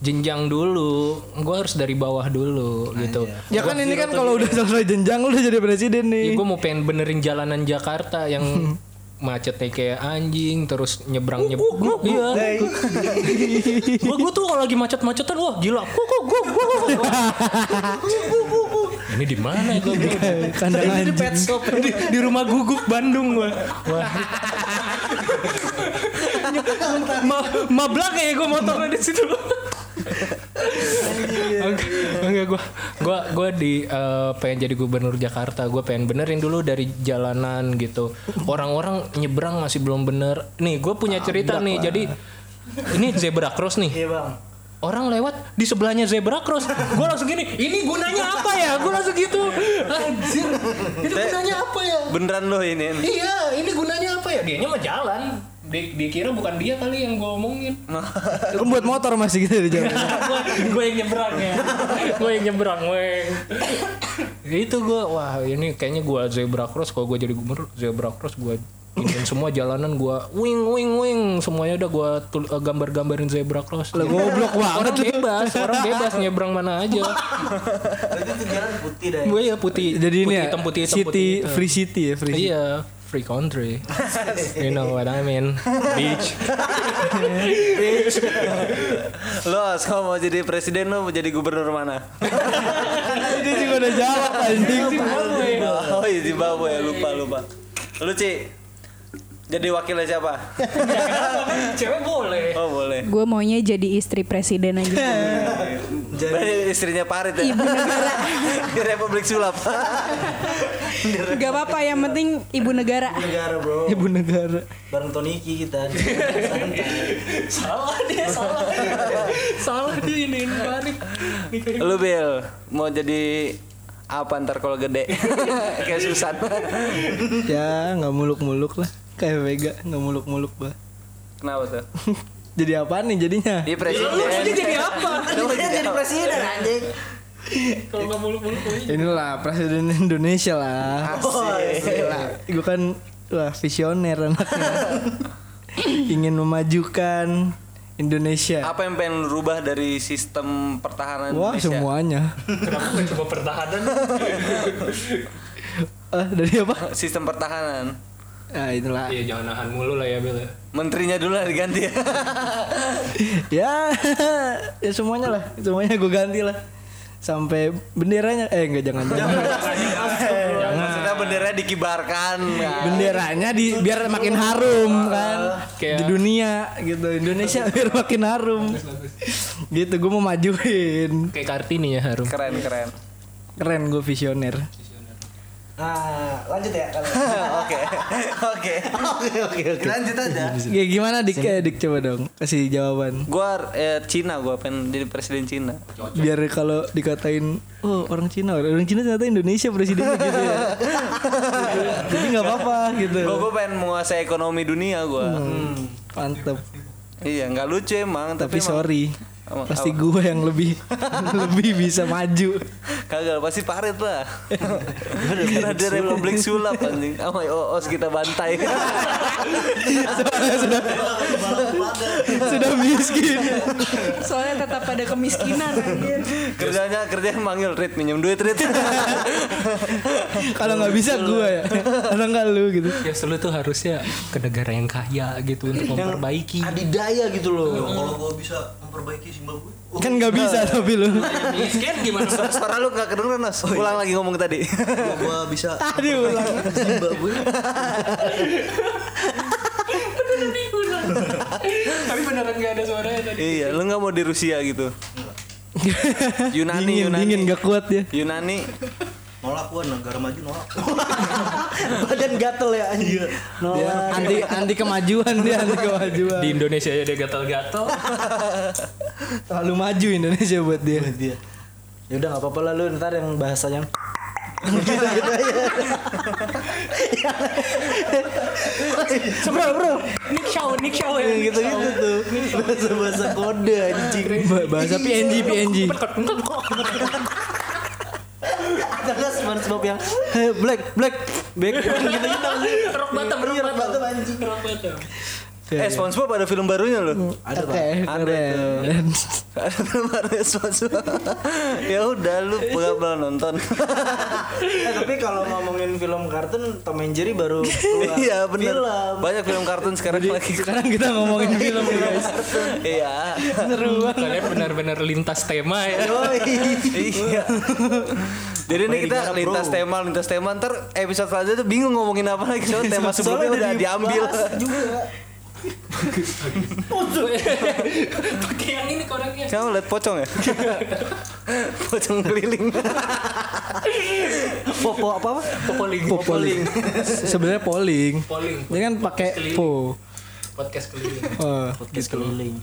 [SPEAKER 1] jenjang dulu gue harus dari bawah dulu gitu
[SPEAKER 6] Ah,
[SPEAKER 3] Ya kan ini kan kalau udah selesai jenjang lu udah jadi presiden
[SPEAKER 6] iya.
[SPEAKER 1] gue
[SPEAKER 3] nih.
[SPEAKER 1] Ya, mau pengen benerin jalanan Jakarta yang macetnya kayak anjing terus nyebrang nyebrang iya gua gua tuh kalau lagi macet-macetan wah gila Gua- gua- gua- gua- gua- gua. ini di mana gua
[SPEAKER 3] Kandang anjing.
[SPEAKER 1] shop di, di rumah guguk Bandung gua wah ma mablak ya gua motornya di situ Enggak, enggak gue gua gua di eh, pengen jadi gubernur Jakarta gue pengen benerin dulu dari jalanan gitu orang-orang nyebrang masih belum bener nih gue punya cerita nih jadi ini zebra cross nih
[SPEAKER 2] iya bang
[SPEAKER 1] orang lewat di sebelahnya zebra cross gue langsung gini ini gunanya apa ya gue langsung gitu anjir itu gunanya apa ya
[SPEAKER 4] Beneran lo ini.
[SPEAKER 1] iya ini gunanya apa ya dianya mah jalan Di- dikira bukan dia kali yang gue omongin
[SPEAKER 3] Lu buat motor masih gitu di jalan.
[SPEAKER 1] gue yang nyebrang ya gue yang nyebrang weh itu gue wah ini kayaknya gue zebra cross kalau gue jadi gubernur zebra cross gue Iniin semua jalanan gua wing wing wing semuanya udah gua tul- eh, gambar-gambarin zebra cross. Lah goblok Orang bebas, orang bebas nyebrang mana aja.
[SPEAKER 2] Berarti itu jalan putih dah.
[SPEAKER 1] Gue ya putih.
[SPEAKER 3] Jadi ini
[SPEAKER 1] putih
[SPEAKER 3] ya,
[SPEAKER 1] hitam putih hitam
[SPEAKER 3] city
[SPEAKER 1] putih. hitam.
[SPEAKER 3] free city ya free.
[SPEAKER 1] Iya, free country. you know what I mean? Beach.
[SPEAKER 4] Lo kalau mau jadi presiden lo mau jadi gubernur mana? Iya,
[SPEAKER 3] Ini juga udah jawab anjing.
[SPEAKER 4] Oh iya Zimbabwe lupa lupa. Lu Ci jadi wakilnya siapa?
[SPEAKER 1] Cewek boleh.
[SPEAKER 4] Oh boleh.
[SPEAKER 5] Gue maunya jadi istri presiden aja.
[SPEAKER 4] Berarti istrinya Parit ya?
[SPEAKER 5] Ibu negara.
[SPEAKER 4] Di Republik Sulap.
[SPEAKER 3] Iya.
[SPEAKER 5] Gak apa-apa yang penting ibu negara.
[SPEAKER 2] Negara bro.
[SPEAKER 3] Ibu negara.
[SPEAKER 2] Bareng Toniki kita.
[SPEAKER 1] Salah dia, salah. salah dia ini balik.
[SPEAKER 4] Lu Bill mau jadi apa ntar kalau gede? Kayak Susan.
[SPEAKER 3] Ya nggak muluk-muluk lah. Kayak Vega nggak muluk-muluk bah.
[SPEAKER 4] Kenapa tuh?
[SPEAKER 3] Jadi apaan nih
[SPEAKER 1] Iya,
[SPEAKER 3] jadinya?
[SPEAKER 4] Dia presiden.
[SPEAKER 1] Jadi apa?
[SPEAKER 4] Lu mau jadi apa?
[SPEAKER 2] presiden anjing.
[SPEAKER 1] Kalau nggak muluk-muluk gua
[SPEAKER 3] Inilah presiden Indonesia lah.
[SPEAKER 4] Asik.
[SPEAKER 3] Gue kan wah visioner anaknya. Ingin memajukan Indonesia.
[SPEAKER 4] Apa yang pengen lu rubah dari sistem pertahanan
[SPEAKER 3] Wah
[SPEAKER 4] Indonesia?
[SPEAKER 3] semuanya.
[SPEAKER 1] Kenapa gak coba pertahanan?
[SPEAKER 3] Eh dari apa?
[SPEAKER 4] Sistem pertahanan.
[SPEAKER 3] Nah itulah.
[SPEAKER 1] Iya jangan nahan mulu lah ya Bel. ya.
[SPEAKER 4] Menterinya dulu lah diganti ya.
[SPEAKER 3] ya ya semuanya lah semuanya gue ganti lah sampai benderanya eh enggak jangan jangan
[SPEAKER 4] Maksudnya bendera dikibarkan.
[SPEAKER 1] Iya.
[SPEAKER 3] benderanya di biar makin harum kan
[SPEAKER 1] Kayak-
[SPEAKER 3] di dunia gitu Indonesia biar makin harum gitu gue mau majuin
[SPEAKER 1] Kayak Kartini ya Harum.
[SPEAKER 4] Keren keren.
[SPEAKER 3] keren gue visioner
[SPEAKER 2] Nah, lanjut ya kalau.
[SPEAKER 4] Oke oke.
[SPEAKER 2] Lanjut aja.
[SPEAKER 3] ya gimana dik eh, dik coba dong kasih jawaban
[SPEAKER 4] Gua eh, Cina gua pengen jadi presiden Cina.
[SPEAKER 3] biar kalau dikatain oh orang Cina orang Cina ternyata Indonesia presidennya gitu ya jadi nggak apa-apa gitu
[SPEAKER 4] Gua gua pengen menguasai ekonomi dunia
[SPEAKER 3] Hmm.
[SPEAKER 4] gua.
[SPEAKER 3] mantep
[SPEAKER 4] Iya nggak lucu emang tapi,
[SPEAKER 3] tapi
[SPEAKER 4] emang-
[SPEAKER 3] sorry
[SPEAKER 4] Emang-
[SPEAKER 3] pasti gue yang lebih lebih bisa maju
[SPEAKER 4] Kagak pasti parit lah.
[SPEAKER 3] Iya,
[SPEAKER 4] Karena dia Republik Sulap anjing. Sama OOS kita bantai.
[SPEAKER 3] sudah miskin
[SPEAKER 5] Soalnya tetap ada kemiskinan. anjir.
[SPEAKER 4] kerjanya kerjanya manggil Rit minjem duit Rit.
[SPEAKER 3] kalau nggak bisa gue ya kalau nggak lu gitu
[SPEAKER 1] Ya selalu tuh harusnya ke negara yang kaya gitu untuk memperbaiki.
[SPEAKER 2] Adidaya gitu loh.
[SPEAKER 6] Kalau gua bisa memperbaiki Zimbabwe,
[SPEAKER 3] kan nggak bisa tapi lu
[SPEAKER 1] Miskin kan? gimana?
[SPEAKER 4] Suara, suara lu gak kedengeran Nos. Ulang lagi ngomong tadi.
[SPEAKER 6] kalau gua bisa
[SPEAKER 3] tadi ulang
[SPEAKER 6] Zimbabwe,
[SPEAKER 1] Tapi beneran gak ada suaranya tadi.
[SPEAKER 4] iya, lu gak mau di Rusia gitu. Yunani,
[SPEAKER 3] dingin
[SPEAKER 4] Yunani.
[SPEAKER 3] dingin nggak kuat ya
[SPEAKER 4] Yunani
[SPEAKER 6] nolak gua negara maju nolak.
[SPEAKER 2] Badan gatel ya anjir.
[SPEAKER 3] dia Ya, anti anti kemajuan dia anti kemajuan
[SPEAKER 1] Di Indonesia aja dia gatal-gatal.
[SPEAKER 3] terlalu maju Indonesia buat dia
[SPEAKER 2] Dia. Ya udah enggak apa-apa lah lu ntar yang bahasanya
[SPEAKER 3] bro bro
[SPEAKER 5] Nick Shaw, Nick Shaw ya.
[SPEAKER 2] gitu gitu tuh bahasa bahasa kode anjing
[SPEAKER 3] Ba- bahasa PNG PNG
[SPEAKER 2] ada nggak SpongeBob yang "Hey, black black black gitu gitu
[SPEAKER 1] Rock bottom, rock
[SPEAKER 2] Iya, rock bottom, anjing.
[SPEAKER 1] Rock bottom.
[SPEAKER 3] Iya,
[SPEAKER 4] Eh SpongeBob ada film barunya loh
[SPEAKER 2] ada
[SPEAKER 3] oke
[SPEAKER 2] pak
[SPEAKER 3] keren
[SPEAKER 4] Ada film barunya SpongeBob Ya udah lu gak bakal nonton
[SPEAKER 2] Eh, tapi kalau ngomongin film kartun Tom and Jerry baru keluar
[SPEAKER 4] Iya bener
[SPEAKER 2] film
[SPEAKER 4] Banyak film kartun sekarang lagi
[SPEAKER 3] sekarang kita ngomongin film nih, guys
[SPEAKER 4] Iya
[SPEAKER 1] Kalian benar-benar lintas tema ya.
[SPEAKER 4] Iya Jadi ini kita lintas tema Lintas tema ntar episode selanjutnya tuh bingung ngomongin apa lagi Soalnya tema
[SPEAKER 2] Soalnya
[SPEAKER 4] sebelumnya udah
[SPEAKER 2] udah
[SPEAKER 4] diambil
[SPEAKER 2] dibahas juga
[SPEAKER 1] Pakai yang ini koreknya.
[SPEAKER 4] Kamu liat pocong ya? pocong keliling
[SPEAKER 2] popo apa apa
[SPEAKER 1] Poling.
[SPEAKER 3] polling sebenarnya polling
[SPEAKER 1] Poling.
[SPEAKER 3] Dia kan pakai po.
[SPEAKER 1] Podcast keliling.
[SPEAKER 3] Eh,
[SPEAKER 2] podcast keliling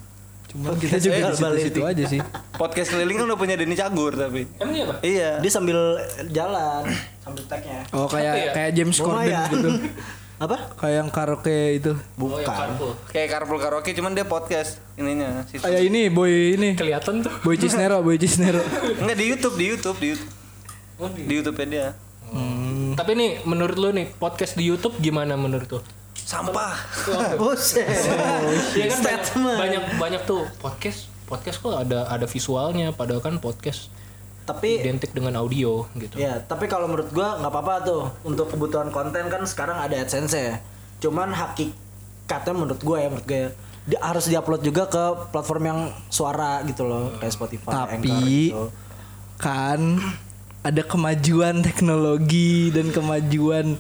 [SPEAKER 3] cuma kita juga di situ-situ aja sih.
[SPEAKER 4] Podcast keliling kan udah punya Denny Cagur tapi
[SPEAKER 1] Emang iya pak?
[SPEAKER 4] Iya
[SPEAKER 2] dia sambil jalan sambil tagnya
[SPEAKER 3] Oh kayak kayak James Corden
[SPEAKER 2] Lumayan.
[SPEAKER 3] gitu.
[SPEAKER 2] apa
[SPEAKER 3] Kayak yang karaoke itu.
[SPEAKER 1] Oh, yang karbo.
[SPEAKER 4] Kayak Carpool Karaoke cuman dia podcast ininya situ.
[SPEAKER 3] Kayak ini boy ini.
[SPEAKER 1] Kelihatan tuh.
[SPEAKER 3] Boy Cisnero, Boy Cisnero.
[SPEAKER 4] Enggak di YouTube, di YouTube, di YouTube. Di YouTube-nya dia.
[SPEAKER 1] Hmm. Tapi nih menurut lu nih podcast di YouTube gimana menurut lu?
[SPEAKER 4] sampah
[SPEAKER 3] Eh.
[SPEAKER 2] Oh,
[SPEAKER 3] Oh,
[SPEAKER 1] Iya kan banyak-
[SPEAKER 6] Statement.
[SPEAKER 1] banyak banyak tuh podcast podcast kok ada ada visualnya padahal kan podcast
[SPEAKER 2] Tapi
[SPEAKER 1] identik dengan audio
[SPEAKER 3] Iya.
[SPEAKER 1] gitu.
[SPEAKER 2] Ya, tapi kalau menurut gua nggak apa-apa tuh untuk kebutuhan konten kan sekarang ada AdSense ya. Cuman hakikatnya menurut gua ya menurut gua ya, di- harus diupload juga ke platform yang suara gitu loh kayak Spotify, Anchor
[SPEAKER 3] tapi
[SPEAKER 2] gitu.
[SPEAKER 3] kan ada kemajuan teknologi dan kemajuan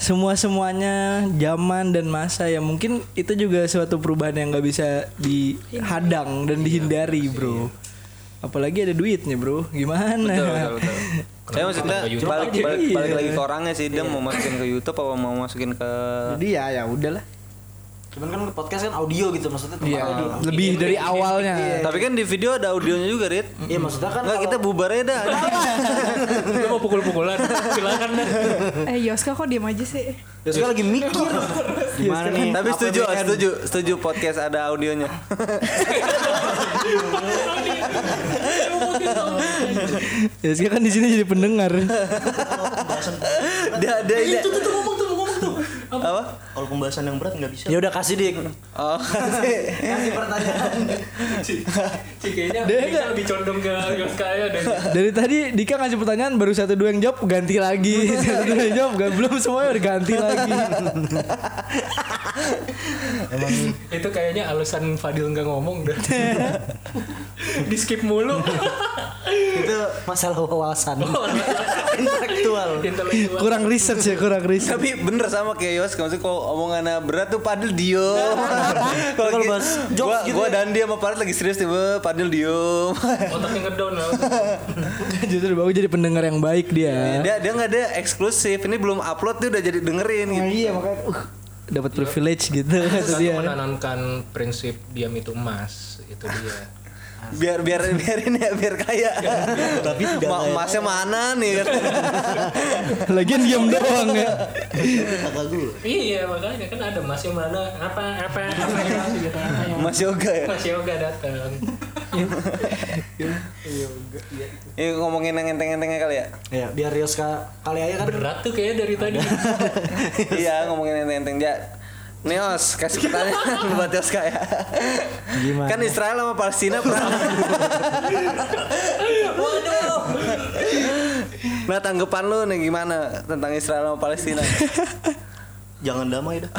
[SPEAKER 3] semua semuanya zaman dan masa ya mungkin itu juga suatu perubahan yang nggak bisa dihadang dan dihindari bro apalagi ada duitnya bro gimana
[SPEAKER 4] betul betul betul saya maksudnya
[SPEAKER 1] Kenapa YouTube?
[SPEAKER 4] balik,
[SPEAKER 3] Iya.
[SPEAKER 4] balik, balik lagi ke orangnya sih dia mau masukin ke YouTube apa mau masukin ke
[SPEAKER 3] jadi ya ya udahlah
[SPEAKER 2] Cuman kan podcast kan audio gitu maksudnya
[SPEAKER 3] Iya,
[SPEAKER 2] tempatnya di-
[SPEAKER 3] lebih dari awalnya Iya,
[SPEAKER 4] tapi kan di video ada audionya juga Rit
[SPEAKER 2] Iya, maksudnya kan
[SPEAKER 4] Enggak kita bubarnya dah
[SPEAKER 1] Lu mau pukul-pukulan, silakan dah.
[SPEAKER 5] eh Yoska kok diem aja sih
[SPEAKER 2] ya suka lagi mikir gimana nih.
[SPEAKER 4] tapi setuju
[SPEAKER 2] APBN?
[SPEAKER 4] setuju setuju podcast ada audionya
[SPEAKER 3] ya sekarang kan di sini jadi pendengar
[SPEAKER 4] dia dia dia apa
[SPEAKER 6] Kalau pembahasan yang berat nggak bisa.
[SPEAKER 2] Ya udah kasih dik.
[SPEAKER 4] oh
[SPEAKER 2] Kasih pertanyaan.
[SPEAKER 1] Kayaknya lebih condong ke Yoska ya dan
[SPEAKER 3] dari tadi Dika ngasih pertanyaan baru satu dua yang jawab ganti lagi satu dua yang jawab nggak- belum semuanya udah ganti lagi
[SPEAKER 1] itu kayaknya alasan Fadil nggak ngomong dah. Di skip mulu.
[SPEAKER 2] Itu masalah wawasan. Intelektual.
[SPEAKER 1] Intelektual.
[SPEAKER 3] kurang research ya kurang research
[SPEAKER 4] tapi bener sama kayak Yos maksudnya kalau omongannya berat tuh Padil diem kalau
[SPEAKER 2] Kalau
[SPEAKER 4] gua-
[SPEAKER 2] bahas jokes
[SPEAKER 4] gua
[SPEAKER 2] gitu
[SPEAKER 4] gua
[SPEAKER 2] ya.
[SPEAKER 4] dan dia sama Parit lagi serius tiba Padil diem
[SPEAKER 1] Otaknya ngedown lah.
[SPEAKER 3] Justru baru jadi pendengar yang baik Iya,
[SPEAKER 2] Eh.
[SPEAKER 3] dia.
[SPEAKER 4] dia dia nggak ada eksklusif ini belum upload dia udah jadi dengerin gitu.
[SPEAKER 2] Oh,
[SPEAKER 3] iya makanya uh, dapat privilege gitu kata
[SPEAKER 1] Satu
[SPEAKER 3] dia.
[SPEAKER 1] menanamkan prinsip diam itu emas, itu dia.
[SPEAKER 4] biar biar biarin ya biar kaya tapi Ma emasnya mana nih
[SPEAKER 3] Lagian diam doang ya.
[SPEAKER 6] Kakak gue.
[SPEAKER 1] Iya makanya kan ada Mas yang mana apa apa apa gitu apa ya.
[SPEAKER 4] Mas Yoga ya
[SPEAKER 1] Mas Yoga datang.
[SPEAKER 4] ini ngomongin yang enteng-entengnya kali ya
[SPEAKER 2] Ya, biar Rioska kali aja kan
[SPEAKER 1] Berat tuh kayaknya dari tadi.
[SPEAKER 4] iya ngomongin enteng-enteng ya Neos kasih pertanyaan buat Yos ya
[SPEAKER 2] Gimana?
[SPEAKER 4] kan Israel sama Palestina perang waduh nah tanggapan lu nih gimana tentang Israel sama Palestina
[SPEAKER 6] Jangan damai dah.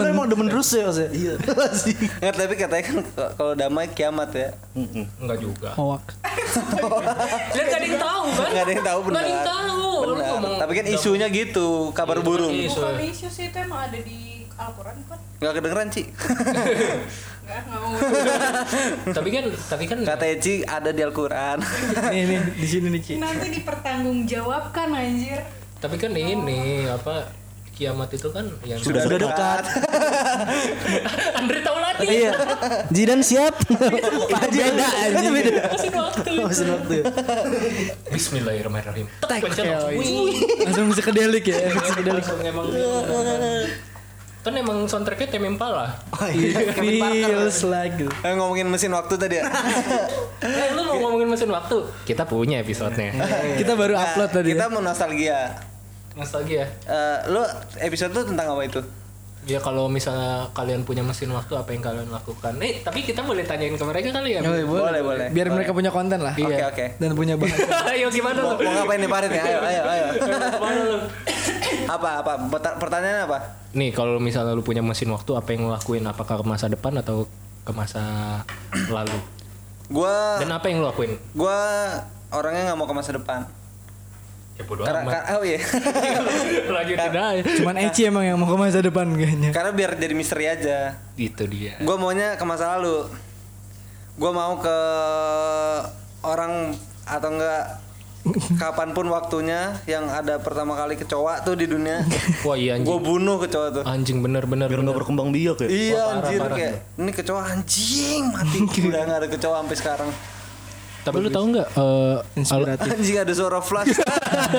[SPEAKER 2] Lu emang demen rusuh ya, Mas? ya?
[SPEAKER 6] Iya.
[SPEAKER 4] Nggak, tapi katanya kan kalau damai kiamat ya
[SPEAKER 1] Enggak juga.
[SPEAKER 3] Hoak.
[SPEAKER 1] Lihat gak ada yang tahu kan?
[SPEAKER 4] nggak ada yang tahu benar
[SPEAKER 1] Nggak ada yang tahu. Lu
[SPEAKER 4] Benar.
[SPEAKER 1] ngomong- Iya,
[SPEAKER 4] tapi kan isunya gitu kabar burung
[SPEAKER 1] kan Isu.
[SPEAKER 5] bukan isu sih itu emang ada di Al-Quran kan
[SPEAKER 4] nggak kedengeran Ci
[SPEAKER 5] nggak nggak mau
[SPEAKER 1] Tapi kan tapi kan
[SPEAKER 4] kata Ci ada di Al-Quran
[SPEAKER 3] Nih nih di sini nih Ci.
[SPEAKER 5] nanti dipertanggungjawabkan anjir
[SPEAKER 1] tapi kan ini apa kiamat itu kan yang
[SPEAKER 4] sudah,
[SPEAKER 6] Sudah
[SPEAKER 4] dekat,
[SPEAKER 1] Andre tahu lagi.
[SPEAKER 2] Iya. Jidan siap.
[SPEAKER 3] Beda aja. Beda.
[SPEAKER 1] Masih waktu.
[SPEAKER 2] Mesin waktu.
[SPEAKER 4] iya.
[SPEAKER 2] ya.
[SPEAKER 1] Bismillahirrahmanirrahim. Tek, pencet langsung. Wih.
[SPEAKER 3] Langsung sekedelik ya.
[SPEAKER 1] Langsung emang kan emang soundtracknya Tame Impala.
[SPEAKER 4] Oh, iya.
[SPEAKER 3] It feels like gitu. it.
[SPEAKER 4] Eh, ngomongin mesin waktu tadi ya
[SPEAKER 1] Eh, lu mau ngomongin mesin waktu? Kita punya episodenya.
[SPEAKER 3] Kita baru
[SPEAKER 4] Nah,
[SPEAKER 3] upload tadi. ya.
[SPEAKER 4] kita mau nostalgia
[SPEAKER 1] Nostalgia.
[SPEAKER 4] Eh, lu episode tuh tentang apa itu
[SPEAKER 1] Ya kalau misalnya kalian punya mesin waktu apa yang kalian lakukan? Eh tapi kita boleh tanyain ke mereka kali ya.
[SPEAKER 3] Boleh,
[SPEAKER 4] Boleh,
[SPEAKER 3] boleh, Iya,
[SPEAKER 4] boleh.
[SPEAKER 3] Biar mereka punya konten lah.
[SPEAKER 4] Oke, oke.
[SPEAKER 3] Dan punya bahan.
[SPEAKER 1] Ayo gimana lu?
[SPEAKER 4] mau, mau ngapain nih Parit nih ayo ayo ayo
[SPEAKER 1] Gimana lu?
[SPEAKER 4] apa apa Peta- pertanyaannya apa
[SPEAKER 1] Nih kalau misalnya lu punya mesin waktu apa yang lu lakuin? Apakah ke masa depan atau ke masa lalu?
[SPEAKER 4] gua
[SPEAKER 1] Dan apa yang lu lakuin?
[SPEAKER 4] gua orangnya nggak mau ke masa depan
[SPEAKER 1] Ya bodo
[SPEAKER 4] karena
[SPEAKER 1] amat.
[SPEAKER 4] kar- oh iya
[SPEAKER 1] Lanjutin aja.
[SPEAKER 3] Cuman Eci emang yang mau ke masa depan kayaknya.
[SPEAKER 4] karena biar jadi misteri aja
[SPEAKER 1] Itu dia.
[SPEAKER 4] gua maunya ke masa lalu gua mau ke orang atau enggak kapanpun waktunya yang ada pertama kali kecoa tuh di dunia
[SPEAKER 1] Wah iya
[SPEAKER 4] gua
[SPEAKER 1] anjing.
[SPEAKER 4] bunuh kecoa tuh
[SPEAKER 1] Anjing bener-bener.
[SPEAKER 6] Biar nggak berkembang biak ya.
[SPEAKER 4] Iya anjir kayak ini kecoa anjing mati udah nggak ada kecoa sampai sekarang
[SPEAKER 1] Tapi lu tahu nggak? eh, al-
[SPEAKER 3] Inspiratif.
[SPEAKER 4] anjing ada suara flash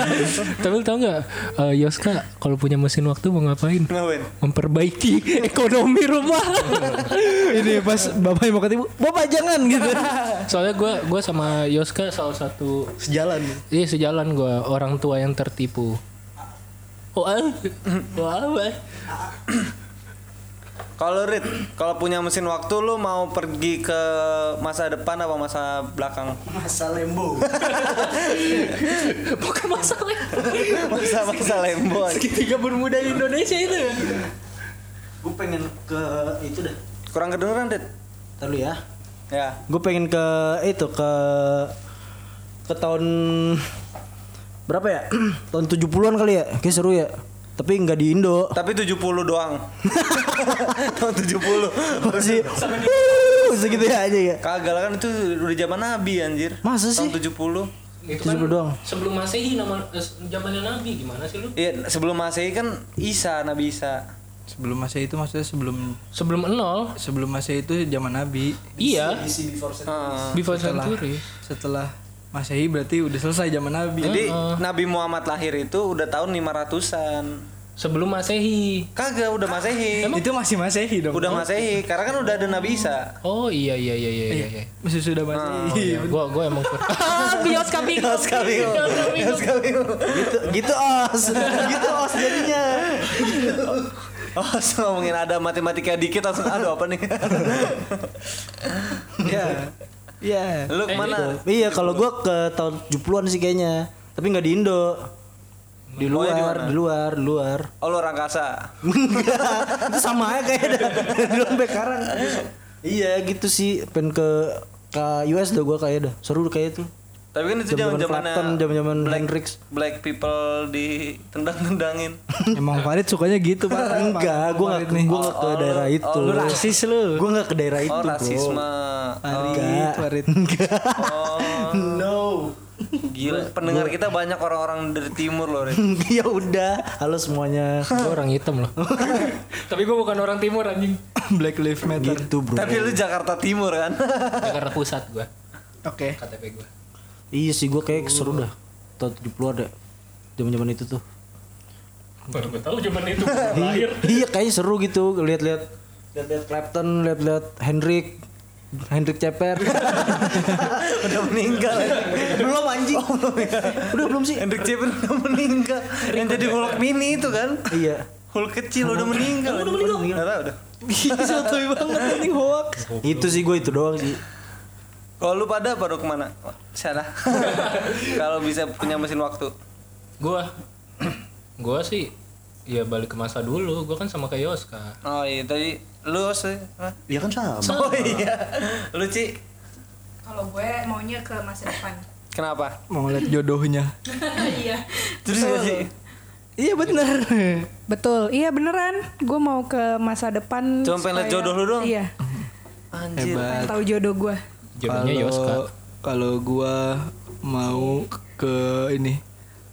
[SPEAKER 1] tapi lu tahu nggak? eh, Yoska kalau punya mesin waktu mau ngapain?
[SPEAKER 4] ngapain
[SPEAKER 1] Memperbaiki ekonomi rumah.
[SPEAKER 3] Ini pas bapaknya mau ketemu, bapak jangan gitu.
[SPEAKER 1] Soalnya gue gua sama Yoska salah satu
[SPEAKER 6] Sejalan.
[SPEAKER 1] Iya sejalan gue orang tua yang tertipu. Wah, wah, wah.
[SPEAKER 4] Kalau Rit, kalau punya mesin waktu lu mau pergi ke masa depan apa masa belakang?
[SPEAKER 2] Masa lembo.
[SPEAKER 1] Bukan masalah.
[SPEAKER 4] Masa masa Lembo.
[SPEAKER 1] Segitiga bermuda di Indonesia itu.
[SPEAKER 2] gue pengen ke itu dah.
[SPEAKER 4] Kurang kedengeran, Rit.
[SPEAKER 2] Ntar dulu ya.
[SPEAKER 4] Ya.
[SPEAKER 2] Gue pengen ke itu ke ke tahun berapa ya? tahun 70-an kali ya. Kayak seru ya. Tapi nggak di Indo.
[SPEAKER 4] Tapi 70 doang. Tahun 70.
[SPEAKER 2] Masih segitu ya aja ya.
[SPEAKER 4] Kagak lah kan itu udah zaman Nabi anjir.
[SPEAKER 2] Masa sih?
[SPEAKER 4] Tahun 70.
[SPEAKER 1] Itu
[SPEAKER 2] 70 doang.
[SPEAKER 1] Sebelum Masehi nama eh, zamannya Nabi gimana sih lu?
[SPEAKER 4] Iya, sebelum Masehi kan Isa, Nabi Isa.
[SPEAKER 3] Sebelum masa itu maksudnya sebelum
[SPEAKER 1] Sebelum nol.
[SPEAKER 3] sebelum masa itu zaman Nabi.
[SPEAKER 1] Iya.
[SPEAKER 4] Heeh.
[SPEAKER 1] Before
[SPEAKER 3] Setelah
[SPEAKER 1] century.
[SPEAKER 3] setelah Masehi berarti udah selesai zaman Nabi.
[SPEAKER 4] Jadi Nabi Muhammad lahir itu udah tahun 500-an.
[SPEAKER 1] Sebelum Masehi.
[SPEAKER 4] Kagak udah Masehi.
[SPEAKER 3] itu masih Masehi dong.
[SPEAKER 4] Udah Masehi, karena kan udah ada Nabi Isa.
[SPEAKER 1] Oh iya iya iya iya iya. iya.
[SPEAKER 3] masih sudah Masehi.
[SPEAKER 1] Gua gua emang kur-
[SPEAKER 5] Bioskop bingung. Bioskop bingung.
[SPEAKER 2] gitu gitu os. gitu os jadinya.
[SPEAKER 4] Oh, ngomongin ada matematika dikit langsung aduh apa nih.
[SPEAKER 2] Iya. Iya.
[SPEAKER 4] Lu kemana?
[SPEAKER 2] Iya kalau gue ke tahun 70-an sih kayaknya Tapi nggak di Indo Di
[SPEAKER 4] Maunya di
[SPEAKER 2] luar,
[SPEAKER 4] mana?
[SPEAKER 2] di luar, di luar
[SPEAKER 4] Oh, lu orang kasa.
[SPEAKER 2] Enggak, itu sama aja kayak dah. dari dulu sampai sekarang Iya gitu sih, pengen ke ke US dah gue kayaknya dah Seru kayak itu
[SPEAKER 4] Tapi kan itu zaman
[SPEAKER 2] Zaman-zaman
[SPEAKER 4] zamannya
[SPEAKER 2] Clapton, zaman-zaman Hendrix
[SPEAKER 4] black people ditendang-tendangin.
[SPEAKER 3] Emang Farid sukanya gitu Pak.
[SPEAKER 2] Enggak, gue gak, gua nggak ke daerah itu
[SPEAKER 3] Oh, Lu rasis lu. Oh,
[SPEAKER 2] Gue gak ke daerah itu
[SPEAKER 4] Oh,
[SPEAKER 2] bro.
[SPEAKER 4] rasisme.
[SPEAKER 2] Enggak,
[SPEAKER 3] Farid.
[SPEAKER 2] enggak
[SPEAKER 4] Oh,
[SPEAKER 2] No
[SPEAKER 4] gila. Pendengar kita banyak orang-orang dari timur loh, Rit.
[SPEAKER 2] Ya udah, halo semuanya
[SPEAKER 1] Gua orang hitam loh. Tapi gua bukan orang timur anjing.
[SPEAKER 3] Black Lives Matter.
[SPEAKER 2] Gitu bro
[SPEAKER 4] Tapi lu Jakarta Timur kan?
[SPEAKER 1] Jakarta pusat gua.
[SPEAKER 3] Oke.
[SPEAKER 1] KTP gua.
[SPEAKER 2] Iya sih gue kayak seru dah Tahun 70 ada Zaman-zaman itu tuh
[SPEAKER 1] Baru gua tahu zaman itu gua lahir.
[SPEAKER 2] Iya kayaknya seru gitu lihat-lihat lihat-lihat Clapton, lihat-lihat Hendrik, Hendrik Ceper.
[SPEAKER 4] udah meninggal. ya? Oh,
[SPEAKER 2] belum anjing. Udah belum sih?
[SPEAKER 4] Hendrik Jeper udah meninggal. Yang jadi Hulk mini itu kan?
[SPEAKER 2] Iya.
[SPEAKER 4] Hulk kecil udah meninggal. Udah meninggal. Nggak tahu udah.
[SPEAKER 2] Sotoy banget anjing hoax. Itu sih gue itu doang sih.
[SPEAKER 4] Kalau lu pada baru kemana? Oh, Sana. Kalau bisa punya mesin waktu.
[SPEAKER 1] Gua gua sih ya balik ke masa dulu. Gua kan sama kayak Yoska.
[SPEAKER 4] Oh iya tadi lu sih. Hah?
[SPEAKER 6] Iya kan sama.
[SPEAKER 4] Oh iya. Lu Ci,
[SPEAKER 5] Kalau gue maunya ke masa depan.
[SPEAKER 4] kenapa?
[SPEAKER 3] Mau lihat jodohnya.
[SPEAKER 5] Iya.
[SPEAKER 4] Terus jadi
[SPEAKER 3] Iya bener.
[SPEAKER 5] Betul. Iya beneran. Gue mau ke masa depan.
[SPEAKER 4] Cuma pengen liat
[SPEAKER 5] supaya-
[SPEAKER 4] jodoh lu doang?
[SPEAKER 5] Iya.
[SPEAKER 4] anjir.
[SPEAKER 5] Pengen tahu jodoh gue.
[SPEAKER 1] Jodohnya Yoska.
[SPEAKER 3] Kalau kalau gua mau ke ini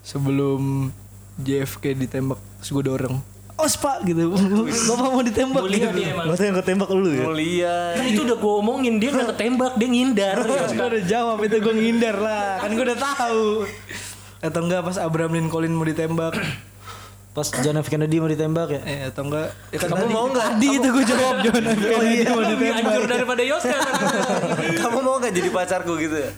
[SPEAKER 3] sebelum JFK ditembak terus gua dorong. Os pak gitu. Bapak mau ditembak gitu.
[SPEAKER 6] Masa yang ketembak lu ya?
[SPEAKER 4] Mulia.
[SPEAKER 1] Nah, itu udah gua omongin dia udah ketembak dia ngindar.
[SPEAKER 3] Gua udah jawab itu gua ngindar lah. Kan gua udah tahu. Atau enggak pas Abraham Lincoln mau ditembak.
[SPEAKER 2] Pas John F Kennedy mau ditembak ya.
[SPEAKER 3] Eh atau enggak ya kan
[SPEAKER 4] Kamu
[SPEAKER 3] tadi-
[SPEAKER 4] mau nggak?
[SPEAKER 3] Tadi itu gua jawab John F. Kennedy mau
[SPEAKER 1] Lebih
[SPEAKER 3] ditembak.
[SPEAKER 1] hancur daripada Yoska.
[SPEAKER 4] Kamu mau nggak jadi pacarku gitu ya?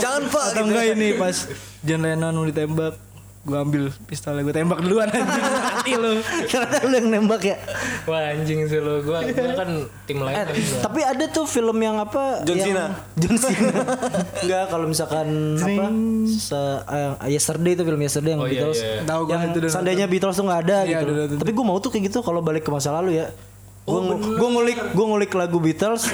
[SPEAKER 4] Jangan pak.
[SPEAKER 3] Atau enggak ini pas John Lennon mau ditembak Gue ambil pistolnya gue tembak duluan anjing Mati lu
[SPEAKER 2] Ternyata lu yang nembak ya.
[SPEAKER 1] Wah anjing sih lo. Gua gua kan tim lain.
[SPEAKER 2] Eh,
[SPEAKER 1] tapi gua-
[SPEAKER 2] tapi ada tuh film yang apa?
[SPEAKER 4] John
[SPEAKER 2] yang-
[SPEAKER 4] Cena.
[SPEAKER 2] John Cena. Enggak kalau misalkan apa? Se, eh, yesterday itu film Yesterday yang
[SPEAKER 1] Oh, iya,
[SPEAKER 2] Beatles.
[SPEAKER 1] iya.
[SPEAKER 3] Tahu gua itu udah
[SPEAKER 2] yang
[SPEAKER 3] nonton.
[SPEAKER 2] seandainya Beatles tuh nggak ada
[SPEAKER 3] Iya,
[SPEAKER 2] gitu.
[SPEAKER 3] udah nonton.
[SPEAKER 2] Tapi gue mau tuh kayak gitu kalau balik ke masa lalu ya.
[SPEAKER 3] Oh,
[SPEAKER 2] Gue ngulik gue ngulik lagu Beatles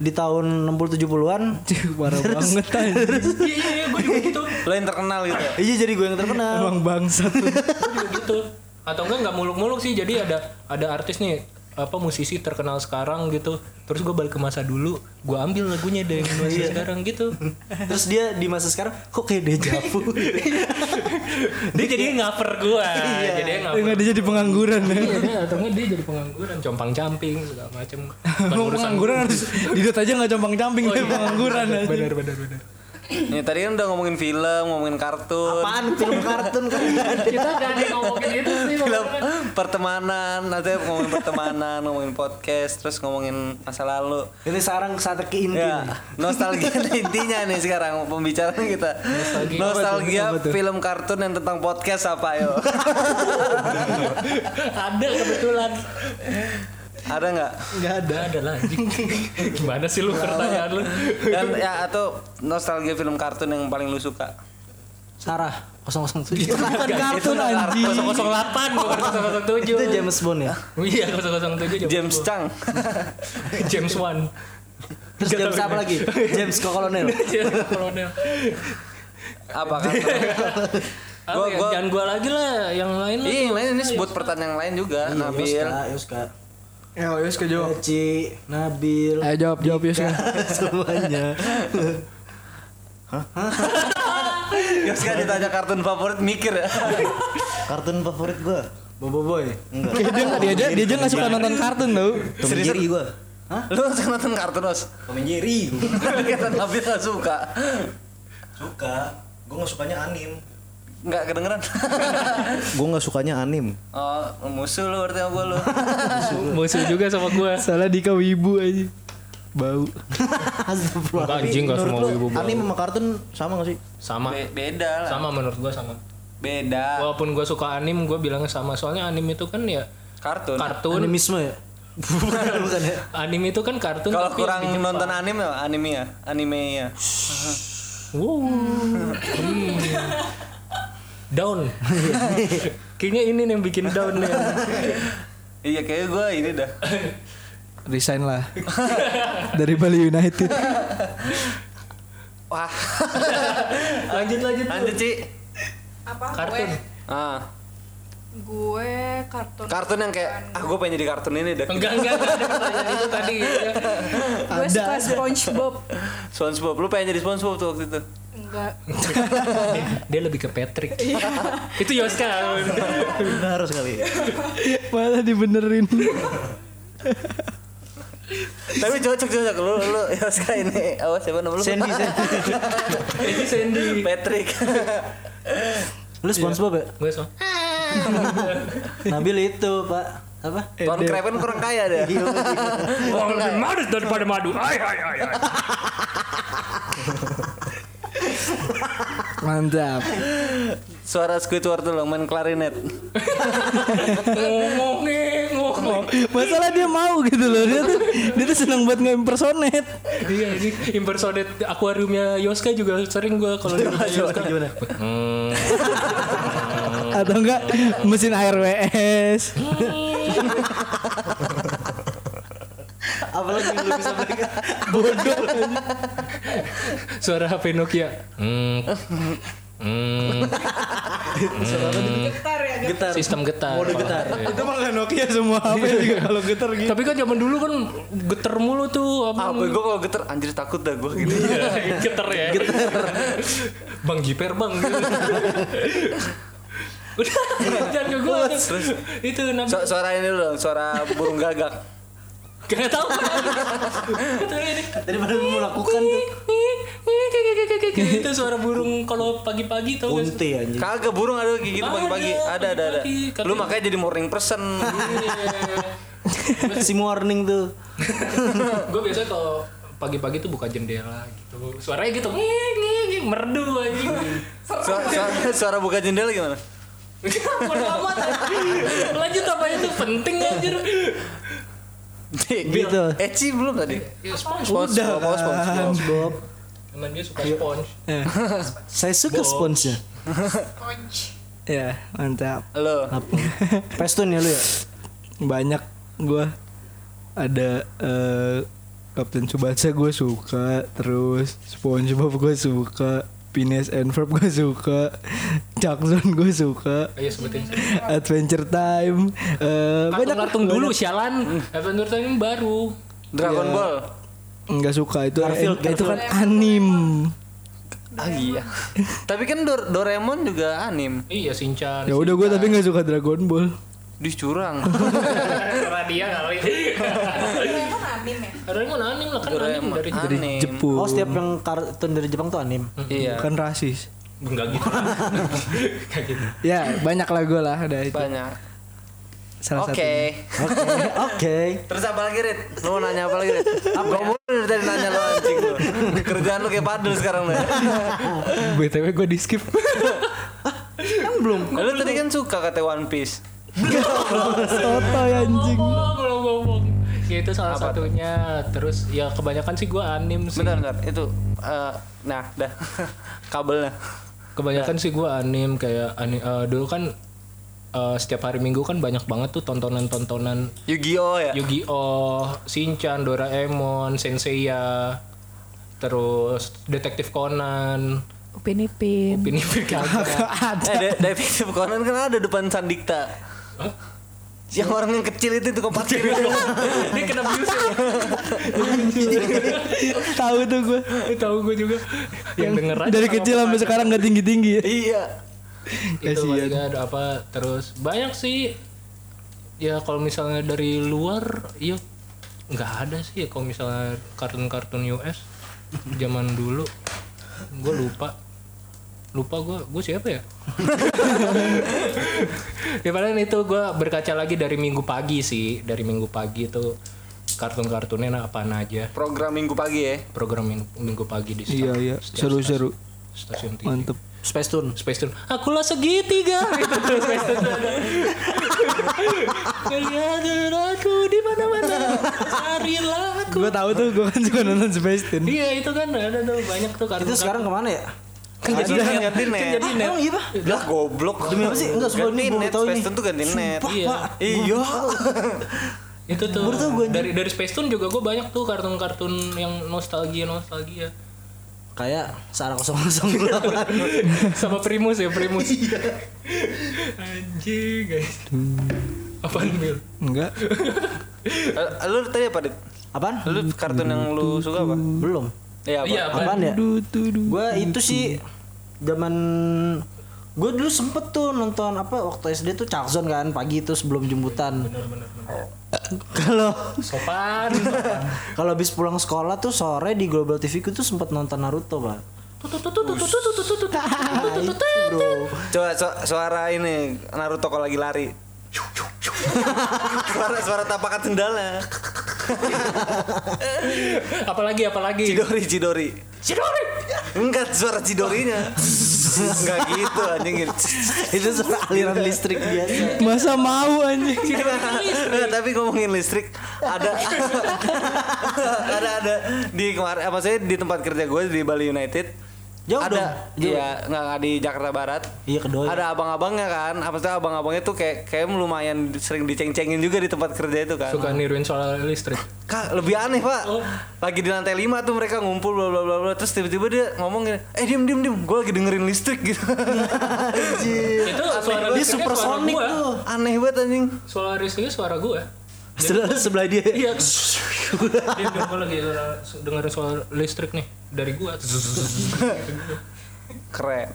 [SPEAKER 2] di tahun 60 70-an.
[SPEAKER 3] Cih, Parah banget anjing
[SPEAKER 1] Iya iya iya gua juga gitu.
[SPEAKER 4] Lo yang terkenal gitu ya?
[SPEAKER 2] Iya jadi gue yang terkenal.
[SPEAKER 3] Emang bangsat lu.
[SPEAKER 1] Gua juga gitu atau enggak nggak muluk-muluk sih jadi ada ada artis nih apa musisi terkenal sekarang gitu terus gue balik ke masa dulu gue ambil lagunya dari masa sekarang gitu
[SPEAKER 2] Terus dia di masa sekarang kok kayak deja vu.
[SPEAKER 1] dia jadi ngaper gue Iya. jadi ngaper
[SPEAKER 3] Enggak dia jadi pengangguran ya
[SPEAKER 1] Iya, atau enggak dia jadi pengangguran compang camping segala macem Bukan
[SPEAKER 3] Mau
[SPEAKER 1] urusan Oh, iya.
[SPEAKER 3] pengangguran harus Didot aja gak compang camping Dia pengangguran anjing
[SPEAKER 1] bener bener bener
[SPEAKER 4] Nih tadi kan udah ngomongin film, ngomongin kartun,
[SPEAKER 2] Apaan film kartun kan nggak
[SPEAKER 3] Iya.
[SPEAKER 2] ada.
[SPEAKER 1] Kita gak ada ngomongin itu sih.
[SPEAKER 4] film pertemanan, nanti ngomongin pertemanan, ngomongin podcast, terus ngomongin masa lalu.
[SPEAKER 2] Ini sekarang saat ke inti.
[SPEAKER 1] Iya.
[SPEAKER 4] Ya,
[SPEAKER 2] nih.
[SPEAKER 4] nostalgia intinya nih sekarang pembicaraan kita. Nostalgia, film kartun yang tentang podcast apa yo?
[SPEAKER 1] Ada kebetulan.
[SPEAKER 4] Ada nggak?
[SPEAKER 1] Gak ada. ada lagi. Gimana sih lu pertanyaan lu?
[SPEAKER 4] Dan ya atau nostalgia film kartun yang paling lu suka?
[SPEAKER 2] Sarah 007. Itu
[SPEAKER 3] Bukan kartun anjing.
[SPEAKER 1] 008 bukan 007.
[SPEAKER 2] itu James Bond ya.
[SPEAKER 1] Iya 007
[SPEAKER 4] James Chang.
[SPEAKER 1] James Wan.
[SPEAKER 2] Terus
[SPEAKER 1] Gak
[SPEAKER 2] James
[SPEAKER 1] tahu
[SPEAKER 2] apa
[SPEAKER 1] deh.
[SPEAKER 2] lagi? James Kolonel.
[SPEAKER 1] James Kolonel.
[SPEAKER 4] apa kartun?
[SPEAKER 1] Apa
[SPEAKER 4] Gua-
[SPEAKER 1] ya,
[SPEAKER 4] gua-
[SPEAKER 1] jangan gua lagi lah, yang lain lah.
[SPEAKER 4] Iya, yang lain ini sebut pertanyaan yang lain juga,
[SPEAKER 2] Iya,
[SPEAKER 4] Nabil.
[SPEAKER 2] Yoska, Yoska.
[SPEAKER 3] Ayo, Eh, oh, Yus ke jawab.
[SPEAKER 2] Eci,
[SPEAKER 6] Eh.
[SPEAKER 2] Nabil.
[SPEAKER 3] Ayo jawab, jawab Yus ya.
[SPEAKER 2] semuanya.
[SPEAKER 4] Yoska ditanya kartun favorit mikir ya.
[SPEAKER 6] Kartun favorit gua.
[SPEAKER 2] Bobo Boy.
[SPEAKER 6] Enggak.
[SPEAKER 3] Kayak dia nggak dia aja dia aja nggak suka nonton kartun tau.
[SPEAKER 6] Tom and Jerry gua.
[SPEAKER 4] Lu suka nonton kartun, Os?
[SPEAKER 6] Tom and Jerry.
[SPEAKER 4] Kita Nabil gak suka.
[SPEAKER 6] Suka. Gua nggak sukanya anim.
[SPEAKER 4] Nggak kedengeran.
[SPEAKER 6] Gua nggak sukanya anim.
[SPEAKER 4] Oh, musuh lu berarti sama gua lu.
[SPEAKER 1] Musuh juga sama gua.
[SPEAKER 3] Salah Dika wibu aja. Bau.
[SPEAKER 1] Enggak, anjing gak
[SPEAKER 6] Menurut
[SPEAKER 1] semua
[SPEAKER 6] lu,
[SPEAKER 1] wibu
[SPEAKER 6] Anim sama kartun sama gak sih?
[SPEAKER 1] Sama.
[SPEAKER 4] Be- Ah. beda lah.
[SPEAKER 1] Sama menurut gua sama.
[SPEAKER 4] Beda.
[SPEAKER 1] Walaupun gua suka anim, gua bilangnya sama. Soalnya anim itu kan ya
[SPEAKER 4] Kartun.
[SPEAKER 1] kartun.
[SPEAKER 2] Animisme ya? bukan, bukan ya.
[SPEAKER 1] Anim itu kan kartun
[SPEAKER 4] Kalau
[SPEAKER 1] tapi
[SPEAKER 4] kurang
[SPEAKER 1] bikin-
[SPEAKER 4] nonton anime, anime ya, anime ya.
[SPEAKER 1] Wow. Hmm. down. Kayaknya ini nih yang bikin down nih.
[SPEAKER 4] Iya kayaknya gue ini dah.
[SPEAKER 3] Resign lah. Dari Bali United.
[SPEAKER 4] Wah,
[SPEAKER 1] Lanjut lanjut.
[SPEAKER 4] lanjut Ci.
[SPEAKER 5] Apa?
[SPEAKER 1] Kartun.
[SPEAKER 5] Gue,
[SPEAKER 4] Ah,
[SPEAKER 5] gue kartun.
[SPEAKER 4] kartun yang kayak ah gue pengen jadi kartun ini dah.
[SPEAKER 1] Enggak enggak enggak ada pertanyaan itu tadi. Ya.
[SPEAKER 5] Gue suka SpongeBob.
[SPEAKER 4] SpongeBob, lu pengen jadi SpongeBob tuh waktu itu.
[SPEAKER 5] Enggak.
[SPEAKER 1] Dia lebih ke Patrick. itu Yoska.
[SPEAKER 6] Benar sekali.
[SPEAKER 3] Malah dibenerin.
[SPEAKER 4] Tapi cocok cocok lu lu Yoska ini. Awas siapa nama lu?
[SPEAKER 6] Sandy, Sandy.
[SPEAKER 1] Itu Sandy.
[SPEAKER 4] Patrick.
[SPEAKER 2] Lu
[SPEAKER 6] Iya.
[SPEAKER 2] SpongeBob ya?
[SPEAKER 1] Gue so.
[SPEAKER 2] Nabil itu, Pak. Apa?
[SPEAKER 4] Tuan Krepen kan kurang kaya deh.
[SPEAKER 1] Wah lebih manis daripada madu. Ay ay ay. ay.
[SPEAKER 3] Mantap.
[SPEAKER 4] Suara Squidward tuh dong main klarinet.
[SPEAKER 1] Ngomongnya ngomong.
[SPEAKER 3] Masalah dia mau gitu loh. Dia tuh dia tuh senang buat nge-impersonate.
[SPEAKER 1] Iya ini impersonate akuariumnya Yoska juga sering gue kalau di rumah Yoska. Oh.
[SPEAKER 3] Atau enggak mesin ARWS.
[SPEAKER 2] Apalagi yang lu bisa berikan?
[SPEAKER 1] Suara HP Nokia. Hmm. Hmm.
[SPEAKER 5] Gitar ya.
[SPEAKER 2] Getar.
[SPEAKER 1] Sistem getar.
[SPEAKER 2] Mode getar.
[SPEAKER 1] Iya.
[SPEAKER 3] Itu mah nggak Nokia semua HP juga kalau getar gitu.
[SPEAKER 1] Tapi kan zaman dulu kan geter mulu tuh apa?
[SPEAKER 4] Ah, gue gue kalau geter anjir takut dah gue gitu.
[SPEAKER 1] Iya, geter ya. bang Jiper bang. Udah, jangan ke gue. Itu nabi.
[SPEAKER 4] Su- suara ini dulu dong, suara burung gagak.
[SPEAKER 1] Gak tau.
[SPEAKER 2] Daripada lu melakukan tuh.
[SPEAKER 1] Itu suara burung kalau pagi-pagi tau gak sih?
[SPEAKER 2] Unti anjing.
[SPEAKER 4] Kagak burung ada kayak gitu
[SPEAKER 1] Ada,
[SPEAKER 4] pagi-pagi. Ada ada ada.
[SPEAKER 1] pagi-pagi, katanya.
[SPEAKER 4] Lu makanya jadi morning person.
[SPEAKER 2] Si morning tuh.
[SPEAKER 1] gue biasanya kalau pagi-pagi tuh buka jendela gitu suaranya gitu "Nging, nging, nging," merdu aja
[SPEAKER 4] Suara, suara, suara buka jendela gimana?
[SPEAKER 1] Bodo amat, anjing. lanjut apa itu penting anjir
[SPEAKER 4] Gitu. Eci belum tadi?
[SPEAKER 1] ya, sponge
[SPEAKER 4] Spons, Udah. Spons, spons,
[SPEAKER 3] kan.
[SPEAKER 4] spons.
[SPEAKER 2] SpongeBob.
[SPEAKER 1] emang dia suka sponge
[SPEAKER 2] Saya suka sponge nya
[SPEAKER 3] Ya, mantap.
[SPEAKER 4] Lo.
[SPEAKER 2] Pestun ya lu ya?
[SPEAKER 3] Banyak gua ada eh Kapten Tsubasa gue suka, terus SpongeBob gue suka, Phineas and Ferb gue suka, Jackson gue suka,
[SPEAKER 1] ayo Ah, iya, sebutin
[SPEAKER 3] Adventure Time, eh banyak
[SPEAKER 1] kartung dulu sialan Adventure Time baru
[SPEAKER 4] Dragon Ball.
[SPEAKER 3] nggak suka itu
[SPEAKER 2] Garfield,
[SPEAKER 3] eh, itu kan anim.
[SPEAKER 4] Ah iya. Tapi kan Dor- Doraemon juga anim.
[SPEAKER 1] iya Shinchan
[SPEAKER 3] Ya udah gue tapi nggak suka Dragon Ball.
[SPEAKER 4] Dih curang.
[SPEAKER 1] Karena dia kali
[SPEAKER 5] Doraemon anim ya.
[SPEAKER 1] Doraemon anime lah kan anime
[SPEAKER 4] Doraemon
[SPEAKER 1] dari
[SPEAKER 3] dari
[SPEAKER 4] anime.
[SPEAKER 3] Jepun. Kan
[SPEAKER 2] Oh setiap yang kartun dari Jepang tuh anim.
[SPEAKER 4] Iya.
[SPEAKER 3] Bukan rasis.
[SPEAKER 1] enggak gitu. Kayak gitu.
[SPEAKER 3] Ya banyak lah gue lah ada itu.
[SPEAKER 4] Banyak.
[SPEAKER 3] Salah
[SPEAKER 4] Oke.
[SPEAKER 3] satunya.
[SPEAKER 2] Oke, oke.
[SPEAKER 4] Terus apa lagi Rit? Lu mau nanya apa lagi Rit? Apa ya? Gua mulu dari tadi nanya lu anjing lu Kerjaan lu kayak padel sekarang lu ya
[SPEAKER 3] BTW gue di skip.
[SPEAKER 2] Kan belum.
[SPEAKER 4] Lu tadi kan suka kata One Piece
[SPEAKER 3] Toto ya anjing.
[SPEAKER 1] Ngomong, ngomong, ngomong. Ya itu salah
[SPEAKER 4] Apa tuh?
[SPEAKER 1] satunya. Terus ya kebanyakan sih gue anim sih.
[SPEAKER 4] Bentar bentar itu eh, Nah dah Kabelnya
[SPEAKER 1] Kebanyakan sih gue anim kayak ani- eh, dulu kan eh, setiap hari Minggu kan banyak banget tuh tontonan-tontonan
[SPEAKER 4] Yu-Gi-Oh ya?
[SPEAKER 1] Yu-Gi-Oh, Shinchan, Doraemon, Senseiya, terus Detektif Conan,
[SPEAKER 5] Upin Ipin.
[SPEAKER 1] Upin Ipin kagak.
[SPEAKER 4] Eh De- Detective Conan kan ada depan Sandikta Yang orang yang kecil itu tukang parkir itu.
[SPEAKER 1] Ini kena ya, biusin.
[SPEAKER 3] Tahu tuh gue.
[SPEAKER 1] Tahu gue juga. Yang denger aja
[SPEAKER 3] Dari
[SPEAKER 1] sama
[SPEAKER 3] kecil sampai sekarang gak tinggi tinggi.
[SPEAKER 4] Iya
[SPEAKER 1] itu
[SPEAKER 3] Kasian.
[SPEAKER 1] paling Gitu, ada apa terus banyak sih ya kalau misalnya dari luar iya nggak ada sih ya kalau misalnya kartun-kartun US zaman dulu gue lupa lupa gue gue siapa ya ya padahal itu gue berkaca lagi dari minggu pagi sih dari minggu pagi itu kartun-kartunnya nah, apaan aja
[SPEAKER 4] Program minggu pagi ya
[SPEAKER 1] program minggu, minggu pagi di
[SPEAKER 3] Iya
[SPEAKER 1] setiap-
[SPEAKER 3] iya.
[SPEAKER 1] setiap
[SPEAKER 3] Seru seru.
[SPEAKER 1] stasiun TV
[SPEAKER 3] Mantep.
[SPEAKER 2] Space Tune.
[SPEAKER 1] Space Tune akulah segitiga gitu tuh Space Tune tuh ada Kelihatan aku di mana mana carilah aku
[SPEAKER 3] Gue tahu tuh gue kan suka nonton Space Tune.
[SPEAKER 1] iya itu kan ada tuh banyak tuh kartun
[SPEAKER 2] Itu sekarang kemana ya?
[SPEAKER 4] Kan jadi ganti net
[SPEAKER 2] Ah, Emang iya pak?
[SPEAKER 4] Lah goblok
[SPEAKER 2] Demi apa sih? Enggak, sebelum ini
[SPEAKER 4] Ganti
[SPEAKER 2] gua
[SPEAKER 4] net
[SPEAKER 2] tahu
[SPEAKER 4] Space
[SPEAKER 2] ini.
[SPEAKER 4] Tune tuh ganti net
[SPEAKER 1] Iya.
[SPEAKER 4] Iya
[SPEAKER 1] itu tuh dari dari Space Tune juga gue banyak tuh kartun-kartun yang nostalgia nostalgia
[SPEAKER 2] Kayak Sarah 008.
[SPEAKER 1] sama Primus ya Primus anjing guys apaan Mil?
[SPEAKER 3] Enggak.
[SPEAKER 4] Eh, Lu tadi apa Dit?
[SPEAKER 2] Apaan?
[SPEAKER 4] Lu kartun yang lu suka apa?
[SPEAKER 2] Belum.
[SPEAKER 4] Iya apa?
[SPEAKER 1] iya apaan
[SPEAKER 2] Apaan ya?
[SPEAKER 3] Du, du, du.
[SPEAKER 2] Gue itu sih zaman gue dulu sempet tuh nonton apa waktu SD tuh Charzon kan pagi itu sebelum jemputan. Kalau
[SPEAKER 1] sopan
[SPEAKER 2] kalau habis pulang sekolah tuh sore di Global TV ku tuh sempet nonton Naruto, Pak. Nah, itu, bro.
[SPEAKER 4] Coba su- suara ini Naruto kalau lagi lari. suara suara tapakan sendalnya.
[SPEAKER 1] apalagi apalagi
[SPEAKER 4] Cidori Cidori.
[SPEAKER 1] Sidori
[SPEAKER 4] Enggak suara Cidorinya. Enggak gitu anjing.
[SPEAKER 2] itu suara aliran listrik biasa.
[SPEAKER 3] Masa mau anjing.
[SPEAKER 4] Nah, tapi ngomongin listrik ada ada ada di kemarin apa sih di tempat kerja gue di Bali United
[SPEAKER 2] Jauh
[SPEAKER 4] ada
[SPEAKER 2] dong, jauh.
[SPEAKER 4] iya nggak nggak di Jakarta Barat
[SPEAKER 2] Iya, kedoyan.
[SPEAKER 4] ada abang-abangnya kan apa sih abang-abangnya tuh kayak kayak lumayan sering diceng-cengin juga di tempat kerja itu kan
[SPEAKER 1] suka niruin soal listrik
[SPEAKER 4] Kak, lebih aneh pak
[SPEAKER 2] Oh.
[SPEAKER 4] Lagi di lantai 5 tuh mereka ngumpul bla bla bla bla Terus tiba-tiba dia ngomong gini Eh diem diem diem Gue lagi dengerin listrik gitu
[SPEAKER 1] itu suara
[SPEAKER 2] Iya. Dia
[SPEAKER 1] listriknya
[SPEAKER 2] supersonic
[SPEAKER 1] suara gua.
[SPEAKER 2] tuh.
[SPEAKER 4] Aneh banget anjing
[SPEAKER 1] suara listriknya suara gue
[SPEAKER 2] Sebelah, sebelah dia.
[SPEAKER 1] iya dia bilang gue lagi dengerin suara listrik nih dari gue
[SPEAKER 4] Keren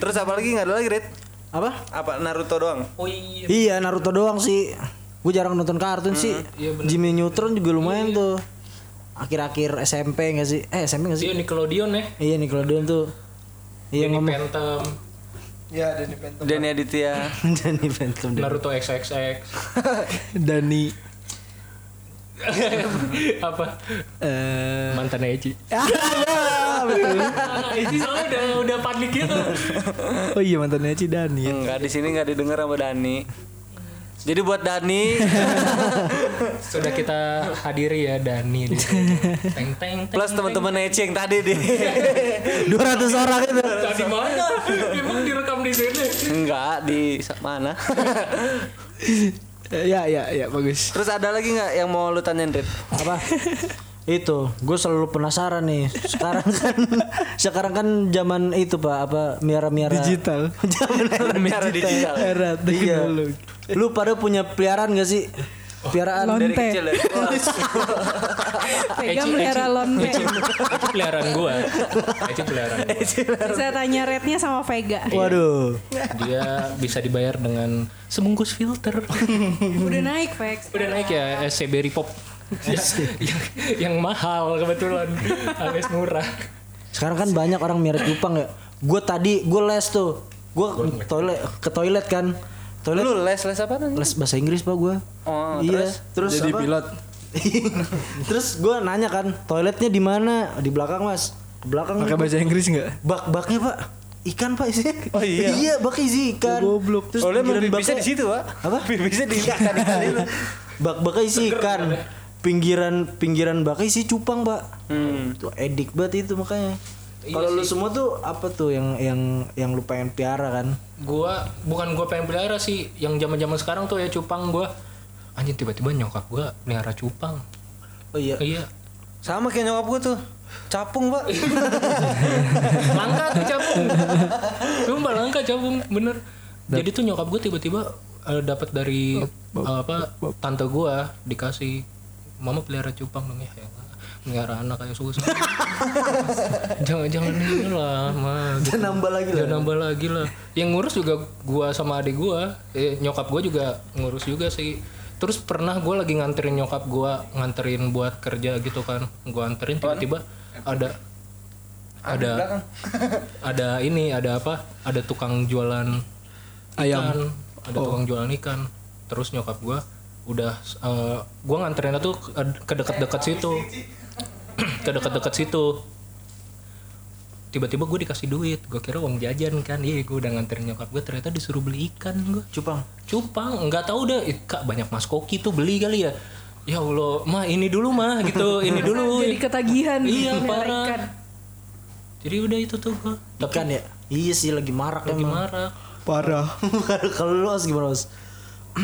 [SPEAKER 4] Terus apa lagi nggak ada lagi Rit?
[SPEAKER 2] Apa?
[SPEAKER 4] Apa Naruto doang?
[SPEAKER 1] oh iya
[SPEAKER 2] Iya Naruto doang sih. Gue jarang nonton kartun sih.
[SPEAKER 1] iya bener.
[SPEAKER 2] Jimmy Neutron juga lumayan tuh. Akhir-akhir SMP gak sih? Eh SMP gak sih?
[SPEAKER 1] dia Nickelodeon ya
[SPEAKER 2] Iya Nickelodeon tuh. Iya
[SPEAKER 1] Danny
[SPEAKER 2] ngomong
[SPEAKER 1] Phantom
[SPEAKER 4] Dani Aditya
[SPEAKER 2] Danny Phantom.
[SPEAKER 1] Naruto XXX
[SPEAKER 3] Dani.
[SPEAKER 1] apa
[SPEAKER 3] Eh.
[SPEAKER 1] mantan Eji
[SPEAKER 2] iya,
[SPEAKER 3] Ah, betul.
[SPEAKER 1] Eji soalnya udah udah panik gitu
[SPEAKER 3] Oh iya mantannya Ci Dani. ya.
[SPEAKER 4] Enggak di sini nggak didengar sama Dani jadi buat Dani
[SPEAKER 1] sudah kita hadiri ya Dani di sini. teng teng teng
[SPEAKER 4] plus teman-teman Ece yang tadi deh
[SPEAKER 2] 200 orang itu.
[SPEAKER 1] di mana emang direkam di sini
[SPEAKER 4] Enggak di sa- mana
[SPEAKER 3] Eh, Ya ya ya bagus.
[SPEAKER 4] Terus ada lagi nggak yang mau lu tanyain Rit?
[SPEAKER 2] Apa? itu gue selalu penasaran nih sekarang kan sekarang kan zaman itu pak apa miara miara
[SPEAKER 3] Digital.
[SPEAKER 2] zaman era
[SPEAKER 4] Biar digital
[SPEAKER 3] Era
[SPEAKER 2] Iya.
[SPEAKER 3] teknologi.
[SPEAKER 2] Lu pada punya peliharaan gak sih? Piaraan.
[SPEAKER 4] dari
[SPEAKER 5] Lonte.
[SPEAKER 4] kecil ya? dari
[SPEAKER 5] Pegang
[SPEAKER 1] Eci,
[SPEAKER 5] melihara
[SPEAKER 1] Eci.
[SPEAKER 5] lonte.
[SPEAKER 1] Eci, Eci peliharaan gue Eci peliharaan gua.
[SPEAKER 5] Bisa tanya rate-nya sama Vega.
[SPEAKER 6] Waduh.
[SPEAKER 1] Dia bisa dibayar dengan sebungkus filter
[SPEAKER 5] Udah naik, Vex.
[SPEAKER 1] Udah naik ya SCB Ripop Ya, yang, yang mahal kebetulan alias murah
[SPEAKER 2] Sekarang kan banyak orang mirip Jepang ya. Gue tadi gue les tuh. Gue toilet ke toilet kan. Toilet
[SPEAKER 4] lu les les apa nih
[SPEAKER 2] les bahasa Inggris pak gue.
[SPEAKER 4] Oh, terus?
[SPEAKER 2] Terus
[SPEAKER 3] Jadi
[SPEAKER 2] apa?
[SPEAKER 3] pilot.
[SPEAKER 2] terus gue nanya kan toiletnya di mana? Di belakang mas. Ke belakang.
[SPEAKER 3] Pakai bahasa Inggris nggak?
[SPEAKER 2] Bak baknya pak. Ikan pak isinya.
[SPEAKER 4] Oh, iya.
[SPEAKER 2] iya bak isi ikan.
[SPEAKER 3] Oh, goblok.
[SPEAKER 2] Terus
[SPEAKER 4] oleh
[SPEAKER 2] pinggiran
[SPEAKER 4] bisa
[SPEAKER 2] baknya-
[SPEAKER 4] di situ pak
[SPEAKER 2] Apa?
[SPEAKER 4] bisa di ikan ikan itu
[SPEAKER 2] Bak baknya isi ikan.
[SPEAKER 4] ya?
[SPEAKER 2] Pinggiran pinggiran baknya isi cupang pak.
[SPEAKER 4] hmm. Iya
[SPEAKER 2] Tuh edik banget itu makanya. Kalau lu semua tuh apa tuh yang yang yang lu pengen piara kan?
[SPEAKER 1] gua bukan gua pengen pelihara sih yang zaman zaman sekarang tuh ya cupang gua anjing tiba-tiba nyokap gua pelihara cupang
[SPEAKER 2] Oh iya.
[SPEAKER 1] iya
[SPEAKER 4] sama kayak nyokap gua tuh capung pak
[SPEAKER 1] langka tuh capung sumpah langka capung bener jadi tuh nyokap gue tiba-tiba eh, dapat dari eh, apa tante gue dikasih mama pelihara cupang dong ya ya Allah, pelihara anak kayak susah jangan jangan ini lah ma gitu.
[SPEAKER 2] nambah lagi
[SPEAKER 1] Jangan nambah lagi lah yang ngurus juga gua sama adik gua eh, nyokap gua juga ngurus juga sih terus pernah gua lagi nganterin nyokap gua nganterin buat kerja gitu kan gua anterin tiba-tiba ada ada ada ini ada apa ada tukang jualan ayam ikan, ada tukang jualan ikan terus nyokap gua udah eh, gua nganterinnya tuh ke ke deket-deket situ ke deket-deket situ tiba-tiba gue dikasih duit gue kira uang jajan kan iya gue udah nganterin nyokap gue ternyata disuruh beli ikan gue
[SPEAKER 2] Cupang.
[SPEAKER 1] cupang nggak tahu deh Ih, kak banyak mas koki tuh beli kali ya ya allah mah ini dulu mah gitu ini dulu
[SPEAKER 5] Jadi ketagihan
[SPEAKER 1] Iya,
[SPEAKER 5] melihara
[SPEAKER 1] parah.
[SPEAKER 5] ikan.
[SPEAKER 1] jadi udah itu tuh gue tapi
[SPEAKER 2] Ikan ya? Iya sih lagi marak
[SPEAKER 1] lagi
[SPEAKER 2] emang.
[SPEAKER 1] marah
[SPEAKER 6] Parah.
[SPEAKER 2] Kalau lu Mas, gimana Mas?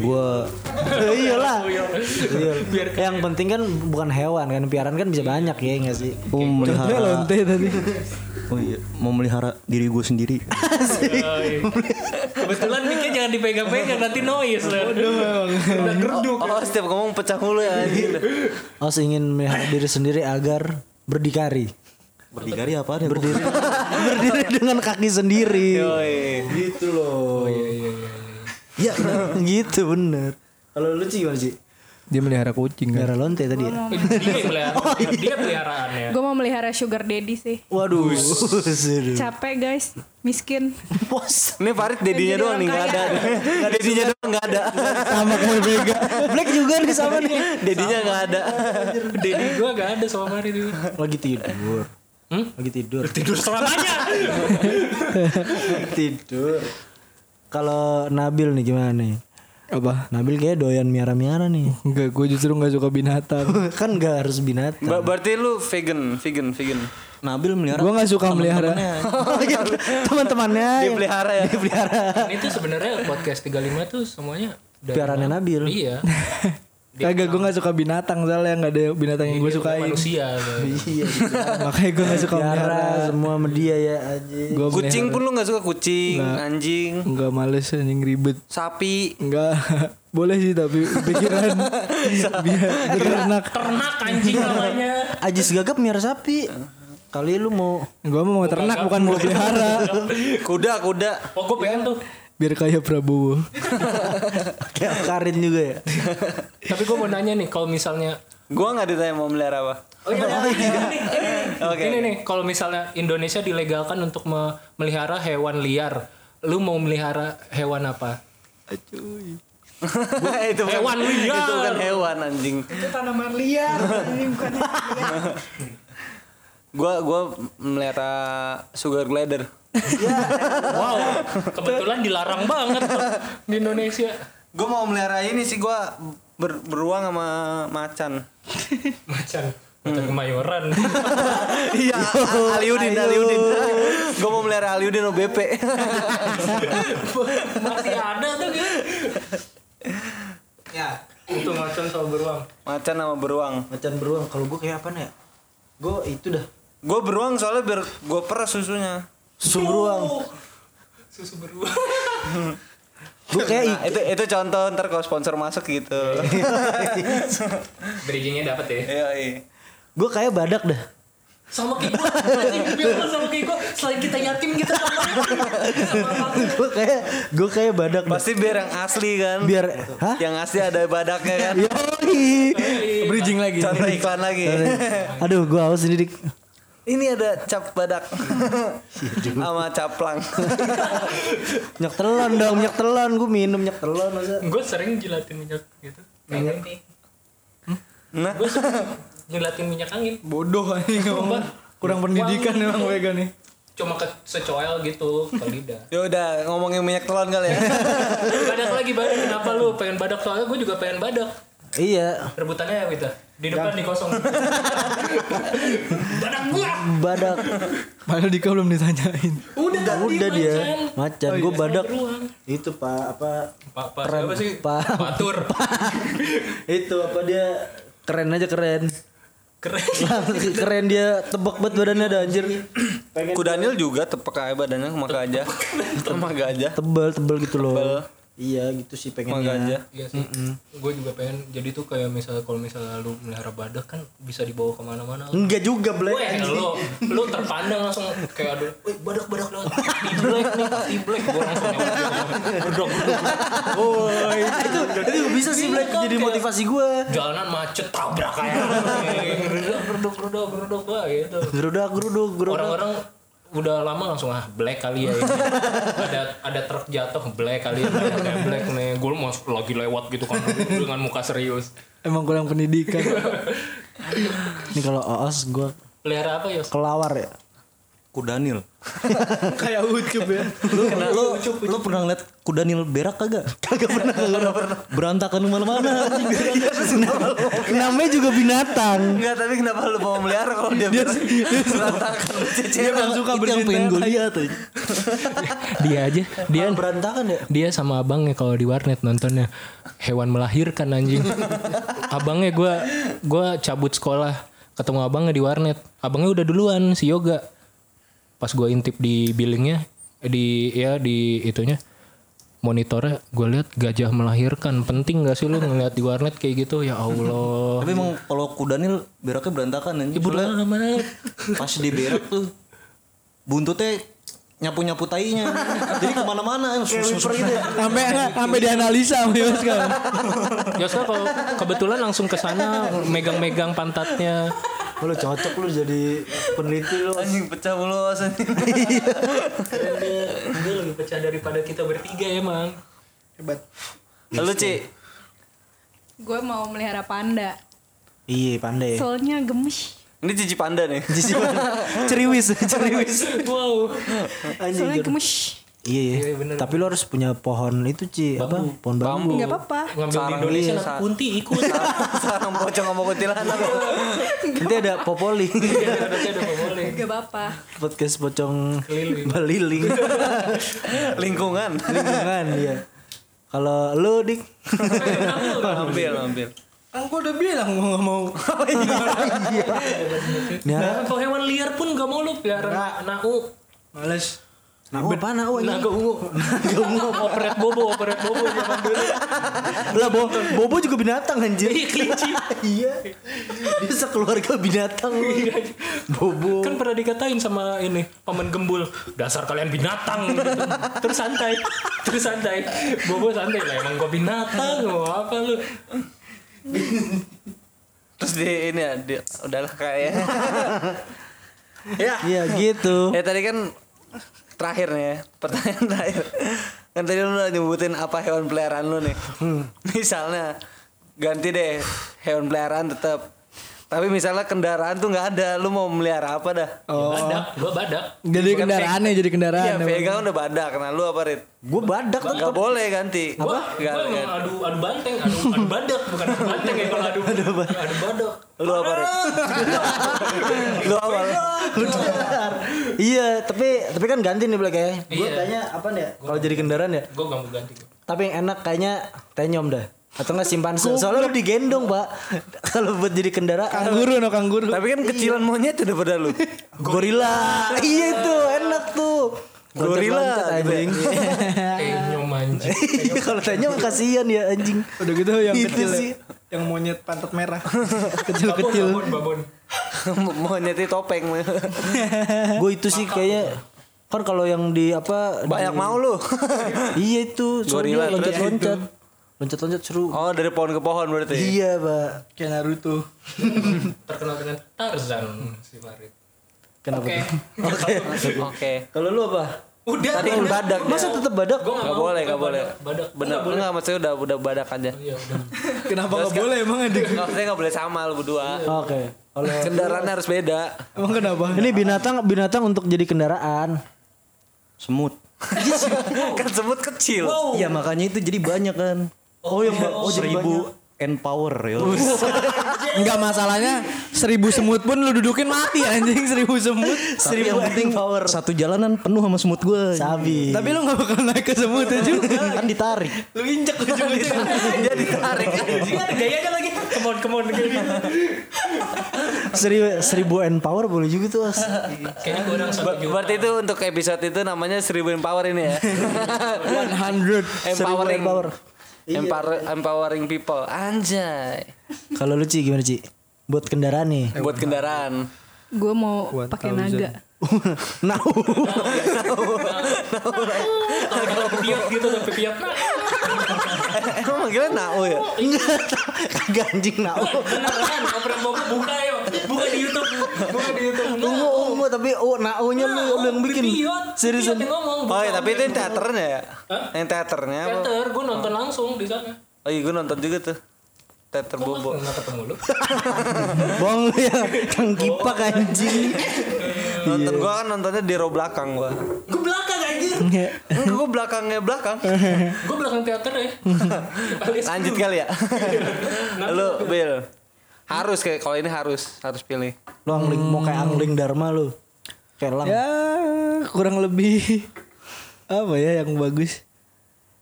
[SPEAKER 2] gua iyalah Iya. yang penting kan bukan hewan kan piaran kan bisa banyak ya nggak sih
[SPEAKER 6] Mau
[SPEAKER 3] Contohnya
[SPEAKER 6] melihara.
[SPEAKER 3] lonte tadi.
[SPEAKER 6] Oh iya, mau melihara diri gue sendiri.
[SPEAKER 1] Yoi. kebetulan miknya jangan dipegang-pegang nanti noise udah
[SPEAKER 4] oh,
[SPEAKER 1] geruduk
[SPEAKER 4] oh, setiap ngomong pecah mulu
[SPEAKER 5] Iya.
[SPEAKER 4] ya anjing
[SPEAKER 2] Os ingin Oh, melihara diri sendiri agar berdikari
[SPEAKER 6] Berdikari apaan ya? Berdiri.
[SPEAKER 2] berdiri dengan kaki sendiri
[SPEAKER 4] Yoi.
[SPEAKER 2] gitu loh ya gitu bener kalau lu sih gimana sih
[SPEAKER 3] Dia melihara kucing kan.
[SPEAKER 2] melihara lonte tadi ya
[SPEAKER 1] dia yang pelihara dia peliharaannya
[SPEAKER 5] Gue mau melihara sugar daddy sih.
[SPEAKER 2] waduh
[SPEAKER 5] Capek guys, miskin.
[SPEAKER 2] bos
[SPEAKER 4] ini Farid dedinya
[SPEAKER 5] Jadi
[SPEAKER 4] doang nih
[SPEAKER 5] orang
[SPEAKER 4] nggak ada
[SPEAKER 5] kaya.
[SPEAKER 4] Eh, dedinya doang nggak ada
[SPEAKER 2] sama kayak Vega Black juga nih sama nih
[SPEAKER 4] dedinya nggak ada
[SPEAKER 1] Dedi gue gak ada sama hari itu
[SPEAKER 2] lagi tidur
[SPEAKER 1] Hmm?
[SPEAKER 2] lagi tidur
[SPEAKER 1] tidur selamanya
[SPEAKER 2] tidur kalau Nabil nih gimana nih
[SPEAKER 3] Apa?
[SPEAKER 2] Nabil kayak doyan miara-miara nih
[SPEAKER 3] Enggak, gue justru nggak suka binatang.
[SPEAKER 2] kan gak harus binatang
[SPEAKER 4] Ba- berarti lu vegan vegan vegan
[SPEAKER 6] Nabil melihara.
[SPEAKER 3] gue nggak suka melihara.
[SPEAKER 2] Oh, iya. teman-temannya
[SPEAKER 4] dipelihara ya
[SPEAKER 1] ini tuh sebenarnya podcast 35 tuh semuanya dari
[SPEAKER 2] piarannya Nabil
[SPEAKER 1] iya
[SPEAKER 3] Kagak gue nggak suka binatang soalnya nggak ada binatang yang gue sukain.
[SPEAKER 1] manusia
[SPEAKER 2] iya
[SPEAKER 3] Makanya gue nggak suka melihara.
[SPEAKER 2] piara semua media ya aja
[SPEAKER 3] Gua
[SPEAKER 4] kucing pun lu nggak suka kucing anjing
[SPEAKER 3] Enggak males anjing ribet.
[SPEAKER 4] sapi
[SPEAKER 3] Enggak boleh sih tapi pikiran biar ternak.
[SPEAKER 1] ternak anjing namanya
[SPEAKER 2] Ajis gagap miara sapi kali lu mau
[SPEAKER 3] Gue mau ternak bukan mau pelihara.
[SPEAKER 4] kuda kuda
[SPEAKER 1] oh gue pengen tuh
[SPEAKER 3] Biar kayak Prabowo.
[SPEAKER 2] kayak Karin juga ya
[SPEAKER 1] tapi gue mau nanya nih kalau misalnya
[SPEAKER 4] gua nggak ditanya mau melihara apa
[SPEAKER 1] Oh iya,
[SPEAKER 4] Oke.
[SPEAKER 1] Ini nih, kalau misalnya Indonesia dilegalkan untuk me- melihara hewan liar, lu mau melihara hewan apa?
[SPEAKER 4] itu bukan-
[SPEAKER 1] Hewan liar.
[SPEAKER 4] itu bukan hewan anjing
[SPEAKER 5] Itu tanaman liar. Ini bukan
[SPEAKER 4] gua gua melihara sugar glider
[SPEAKER 1] Wow, kebetulan dilarang banget tuh di Indonesia.
[SPEAKER 4] gua mau melihara ini sih gua ber- beruang sama macan
[SPEAKER 1] Macan, macan kemayoran.
[SPEAKER 4] Iya,
[SPEAKER 2] Oh,
[SPEAKER 4] Aliudin, Aliudin. Gue mau melihara Aliudin OBP.
[SPEAKER 1] Masih ada tuh kan?
[SPEAKER 2] ya
[SPEAKER 1] Itu macan sama beruang.
[SPEAKER 4] Macan sama beruang.
[SPEAKER 2] macan beruang kalau gue kayak apa ya gue itu dah
[SPEAKER 4] Gue beruang soalnya biar gue peras
[SPEAKER 2] Oh.
[SPEAKER 4] susunya.
[SPEAKER 2] susu beruang
[SPEAKER 1] Susu beruang.
[SPEAKER 2] Gue kayak
[SPEAKER 4] Nah, itu itu contoh ntar kalau sponsor masuk gitu.
[SPEAKER 1] Bridgingnya dapat ya.
[SPEAKER 4] Iya, iya.
[SPEAKER 2] gue kayak badak dah.
[SPEAKER 3] sama kayak gue sama kayak gue selain kita yatim
[SPEAKER 1] gitu.
[SPEAKER 3] kita
[SPEAKER 2] gue kayak gue kayak badak dah.
[SPEAKER 4] Pasti biar yang asli kan.
[SPEAKER 2] Biar hah?
[SPEAKER 4] yang asli ada badaknya kan.
[SPEAKER 2] Yoi.
[SPEAKER 3] bridging lagi
[SPEAKER 4] Contoh iklan lagi.
[SPEAKER 2] Aduh, gue haus ini dik.
[SPEAKER 4] Ini ada cap badak sama caplang.
[SPEAKER 2] Minyak telon dong, minyak telon. Gue minum minyak telon masa.
[SPEAKER 1] Gue sering jilatin minyak gitu. Pengen nih.
[SPEAKER 4] Nah,
[SPEAKER 1] Gue jilatin minyak angin.
[SPEAKER 3] bodoh anjing ngomong kurang pendidikan emang Vega nih
[SPEAKER 1] Cuma ke secoel gitu ke lidah.
[SPEAKER 4] ya udah ngomongin minyak telon kali ya.
[SPEAKER 1] badak lagi badak kenapa lu pengen badak soalnya gue juga pengen badak.
[SPEAKER 2] Iya,
[SPEAKER 1] Rebutannya gitu. Di depan di kosong. badak gua.
[SPEAKER 2] badak.
[SPEAKER 3] padahal Dika belum ditanyain
[SPEAKER 1] Udah,
[SPEAKER 2] Udah, udah
[SPEAKER 1] diem,
[SPEAKER 2] dia.
[SPEAKER 1] Macan.
[SPEAKER 2] Macan,
[SPEAKER 1] Oh,
[SPEAKER 2] gue
[SPEAKER 1] iya.
[SPEAKER 2] badak.
[SPEAKER 1] Beruang.
[SPEAKER 2] Itu pak apa?
[SPEAKER 1] Pak, pak,
[SPEAKER 2] Keren,
[SPEAKER 1] siapa sih?
[SPEAKER 2] Pak.
[SPEAKER 1] Patur.
[SPEAKER 2] Itu apa dia? Keren aja keren.
[SPEAKER 1] Keren.
[SPEAKER 2] keren dia tebak banget badannya ada anjir. Pengen
[SPEAKER 4] Kudanil juga tepek aja badannya sama gajah. Sama gajah.
[SPEAKER 2] tebel tebel gitu loh.
[SPEAKER 4] Tebel.
[SPEAKER 2] Iya gitu sih
[SPEAKER 4] Sama
[SPEAKER 2] pengennya.
[SPEAKER 4] gajah.
[SPEAKER 1] Iya sih, gue juga pengen. Jadi tuh kayak misalnya kalau misalnya lu melihara badak kan bisa dibawa kemana-mana.
[SPEAKER 2] Enggak juga
[SPEAKER 1] Weh,
[SPEAKER 2] black.
[SPEAKER 1] lu, lu terpandang langsung kayak ada, wih badak badak lewat, di black nih, di black gue langsung berdok,
[SPEAKER 2] Woi, itu itu bisa sih black
[SPEAKER 1] Iya, kan,
[SPEAKER 2] jadi
[SPEAKER 1] kayak-
[SPEAKER 2] motivasi gue.
[SPEAKER 1] jalanan macet tabrak kayak, berdok berdok berdok berdok wah gitu.
[SPEAKER 2] Gerudak geruduk geruduk.
[SPEAKER 1] Orang-orang udah lama langsung ah black kali ya ini. ada ada truk jatuh black kali ya kayak black nih gue mau lagi lewat gitu kan dengan muka serius
[SPEAKER 3] emang kurang pendidikan
[SPEAKER 2] Ini kalau oos gue
[SPEAKER 1] pelihara apa ya
[SPEAKER 2] kelawar ya.
[SPEAKER 6] Kudanil.
[SPEAKER 3] kayak ucup ya
[SPEAKER 6] Lu lu, lu pernah ngeliat Kudanil berak kagak? Kagak pernah, kagak pernah. Berantakan kemana mana
[SPEAKER 2] Namanya juga binatang.
[SPEAKER 4] Enggak, tapi kenapa lu mau melihara kalau dia bilang berantakan
[SPEAKER 6] Dia emang suka bersihin yang pengen gue lihat. eh.
[SPEAKER 1] dia aja
[SPEAKER 2] Dia berantakan ya.
[SPEAKER 1] dia sama abangnya kalau di warnet nontonnya hewan melahirkan anjing abangnya gue gua cabut sekolah ketemu abangnya di warnet abangnya udah duluan si yoga pas gue intip di billingnya eh, di ya di itunya monitornya gue lihat gajah melahirkan penting gak sih lu ngeliat di warnet kayak gitu ya allah Ya
[SPEAKER 6] Tapi emang kalau Kudanil beraknya berantakan anjing.
[SPEAKER 1] ibu
[SPEAKER 6] Soalnya
[SPEAKER 1] mana
[SPEAKER 6] pas di berak tuh buntutnya nyapu-nyapu tainya. Jadi kemana-mana. eh, sus- sus-
[SPEAKER 2] gitu
[SPEAKER 6] sus-
[SPEAKER 2] ya?
[SPEAKER 3] sampai sampai dianalisa sama Yos sekarang
[SPEAKER 1] Yoska Ya kalau kebetulan langsung ke sana megang-megang pantatnya
[SPEAKER 2] Wah, Lu cocok lu jadi peneliti lu.
[SPEAKER 4] Anjing pecah mulu anjing.
[SPEAKER 1] dia lebih pecah daripada kita bertiga emang
[SPEAKER 4] Lu, Ci.
[SPEAKER 5] Gue mau melihara panda.
[SPEAKER 2] Iya, pandai.
[SPEAKER 5] Soalnya gemes.
[SPEAKER 4] Ini cici panda nih.
[SPEAKER 2] ceriwis, ceriwis.
[SPEAKER 1] wow
[SPEAKER 2] Anjing.
[SPEAKER 5] Soalnya
[SPEAKER 2] jorok.
[SPEAKER 5] gemes.
[SPEAKER 2] Iya, iya. Tapi lu harus punya pohon itu, Ci. Apa? Pohon bambu.
[SPEAKER 5] Gak apa-apa.
[SPEAKER 1] ngambil di
[SPEAKER 4] Sarang
[SPEAKER 1] Indonesia
[SPEAKER 4] iya,
[SPEAKER 1] lah
[SPEAKER 4] sa-
[SPEAKER 1] kunti ikut
[SPEAKER 4] Sarang pocong sama kuntilanak.
[SPEAKER 2] Nanti ada popoli.
[SPEAKER 1] Indonesia udah nggak boleh
[SPEAKER 5] Gak apa-apa.
[SPEAKER 2] Podcast pocong
[SPEAKER 1] Keliling.
[SPEAKER 2] beliling.
[SPEAKER 4] Lingkungan.
[SPEAKER 2] Lingkungan, iya. Kalau lu, Dik.
[SPEAKER 4] ambil, ambil.
[SPEAKER 3] kan gue udah bilang gue gak mau
[SPEAKER 2] Ya.
[SPEAKER 1] kalau hewan liar pun gak mau lu pelihara nau
[SPEAKER 3] males
[SPEAKER 2] Nah, oh, apa nah, oh, ini?
[SPEAKER 1] naga ungu naga ungu operet bobo operet bobo zaman dulu
[SPEAKER 2] Lah, Bo- Bobo juga binatang anjir.
[SPEAKER 1] iya kelinci
[SPEAKER 2] iya. Dia sekeluarga binatang lu. Bobo.
[SPEAKER 1] kan pernah dikatain sama ini paman gembul dasar kalian binatang gitu. terus santai terus santai bobo santai lah emang gua binatang mau apa lu
[SPEAKER 4] Terus di ini ya, di, udahlah kayak. ya.
[SPEAKER 2] Iya, gitu.
[SPEAKER 4] Ya tadi kan terakhir nih ya, pertanyaan terakhir. Kan tadi lu udah nyebutin apa hewan peliharaan lu nih. Misalnya ganti deh hewan peliharaan tetap. Tapi misalnya kendaraan tuh nggak ada, lu mau melihara apa dah?
[SPEAKER 1] oh. badak gua badak
[SPEAKER 3] jadi kendaraannya jadi kendaraan
[SPEAKER 4] Iya,
[SPEAKER 3] emang.
[SPEAKER 4] Vega udah badak. Nah, lu apa, Rit?
[SPEAKER 2] Gue badak
[SPEAKER 4] Gak boleh ganti.
[SPEAKER 1] Gua,
[SPEAKER 4] Nggak-
[SPEAKER 1] gua emang
[SPEAKER 4] nggak.
[SPEAKER 1] adu adu banteng, adu adu badak bukan adu banteng ya kalau adu adu badak.
[SPEAKER 4] Lu apa, Rit? lu apa? Rit?
[SPEAKER 2] iya, tapi tapi kan ganti nih Black ya. Gue
[SPEAKER 1] Iya.
[SPEAKER 2] kayaknya apa nih? ya? Kalau jadi kendaraan ya.
[SPEAKER 1] Gua gak mau ganti.
[SPEAKER 2] Tapi yang enak kayaknya tenyom dah. Atau enggak simpanse. Soalnya lu digendong, Pak. Kalau buat jadi kendaraan
[SPEAKER 3] kangguru no kangguru
[SPEAKER 4] Tapi kan kecilan monyet udah pada lu.
[SPEAKER 2] gorila. iya itu enak tuh.
[SPEAKER 4] Gorila.
[SPEAKER 2] Loncat-loncat, anjing.
[SPEAKER 1] Eh nyom anjing.
[SPEAKER 2] Iya, Kalau tanya mah kasihan ya anjing.
[SPEAKER 3] Udah gitu yang
[SPEAKER 2] Itu
[SPEAKER 3] kecil ya.
[SPEAKER 2] sih.
[SPEAKER 3] Yang monyet pantat merah.
[SPEAKER 1] babon,
[SPEAKER 3] Kecil-kecil.
[SPEAKER 1] babon, babon.
[SPEAKER 4] monyet itu topeng
[SPEAKER 2] Gue itu sih kayaknya kan kalau yang di apa
[SPEAKER 4] banyak
[SPEAKER 2] di-
[SPEAKER 4] mau lu
[SPEAKER 2] Iya itu,
[SPEAKER 4] Gorila,
[SPEAKER 2] soalnya
[SPEAKER 4] terus?
[SPEAKER 2] loncat-loncat. Loncat-loncat seru.
[SPEAKER 4] oh dari pohon ke pohon berarti
[SPEAKER 2] Iya, Pak.
[SPEAKER 3] Kayak Naruto.
[SPEAKER 1] Terkenal dengan Tarzan si Farid.
[SPEAKER 2] Kenapa?
[SPEAKER 1] Oke.
[SPEAKER 4] oke
[SPEAKER 2] Kalau lu apa?
[SPEAKER 1] Udah.
[SPEAKER 4] tadi
[SPEAKER 1] udah.
[SPEAKER 4] badak ya?
[SPEAKER 2] Masa tetap badak?
[SPEAKER 1] Gua
[SPEAKER 4] nggak
[SPEAKER 1] mau,
[SPEAKER 4] boleh nggak
[SPEAKER 1] gua
[SPEAKER 4] boleh
[SPEAKER 1] Badak.
[SPEAKER 4] bener nggak maksudnya udah udah badak aja
[SPEAKER 1] Iya udah. Iya.
[SPEAKER 3] Kenapa nggak boleh emang adik?
[SPEAKER 4] Nggak, maksudnya nggak boleh sama lu berdua
[SPEAKER 2] Oke. Kalau
[SPEAKER 4] kendaraan harus beda
[SPEAKER 3] Emang kenapa?
[SPEAKER 2] ini binatang binatang untuk jadi kendaraan.
[SPEAKER 6] Semut.
[SPEAKER 4] kan semut kecil
[SPEAKER 6] Ya makanya itu jadi banyak kan.
[SPEAKER 4] iya,
[SPEAKER 6] Oh, yang oh, seribu and power ya.
[SPEAKER 3] Enggak masalahnya seribu semut pun lu dudukin mati anjing seribu semut.
[SPEAKER 6] Tapi yang penting satu jalanan penuh sama semut gue.
[SPEAKER 2] Sabi.
[SPEAKER 3] Tapi lu gak bakal naik ke semut ya, aja.
[SPEAKER 6] kan ditarik.
[SPEAKER 3] Lu injek ujung-ujung.
[SPEAKER 4] Iya.
[SPEAKER 2] seribu seribu and power boleh juga tuh. As.
[SPEAKER 1] Kayaknya gua udah satu
[SPEAKER 4] Ber-
[SPEAKER 1] juta.
[SPEAKER 4] berarti itu untuk episode itu namanya seribu power ini ya empowering
[SPEAKER 3] 100.
[SPEAKER 2] Seribu power.
[SPEAKER 4] Empower- empowering people anjay
[SPEAKER 2] Kalau lu Ci gimana Ci? Buat kendaraan nih.
[SPEAKER 4] buat kendaraan
[SPEAKER 5] Gue mau pakai naga.
[SPEAKER 2] nah,
[SPEAKER 1] Kalau piot gitu sampai piot. Nah,
[SPEAKER 4] emang manggilnya nao ya
[SPEAKER 2] kagak anjing nah.
[SPEAKER 1] beneran nggak pernah mau buka ya. Buka di YouTube. Buka di YouTube. Nah,
[SPEAKER 2] Ungu ungu tapi oh naunya lu lu yang bikin.
[SPEAKER 1] Piot. Piot
[SPEAKER 2] Seriusan.
[SPEAKER 1] yang ngomong.
[SPEAKER 4] oh
[SPEAKER 1] buka.
[SPEAKER 4] ya tapi itu yang teaternya ya
[SPEAKER 1] Hah?
[SPEAKER 4] yang teaternya apa?
[SPEAKER 1] Teater, gue nonton langsung di sana.
[SPEAKER 4] oh iya gue nonton juga tuh teater bobo
[SPEAKER 1] Nggak ketemu lu.
[SPEAKER 2] Bong lu ya. Kang kipak anjing.
[SPEAKER 4] nonton
[SPEAKER 2] Iya.
[SPEAKER 4] gue kan nontonnya di row belakang gue
[SPEAKER 1] Gue belakang anjir.
[SPEAKER 4] gue belakangnya belakang
[SPEAKER 1] Gue belakang teater ya. Alias
[SPEAKER 4] lanjut kali ya lu Bill harus kayak kalau ini harus harus pilih
[SPEAKER 2] Lu angling mau kayak angling Dharma lu. Kayak lang.
[SPEAKER 3] Ya kurang lebih apa ya yang bagus?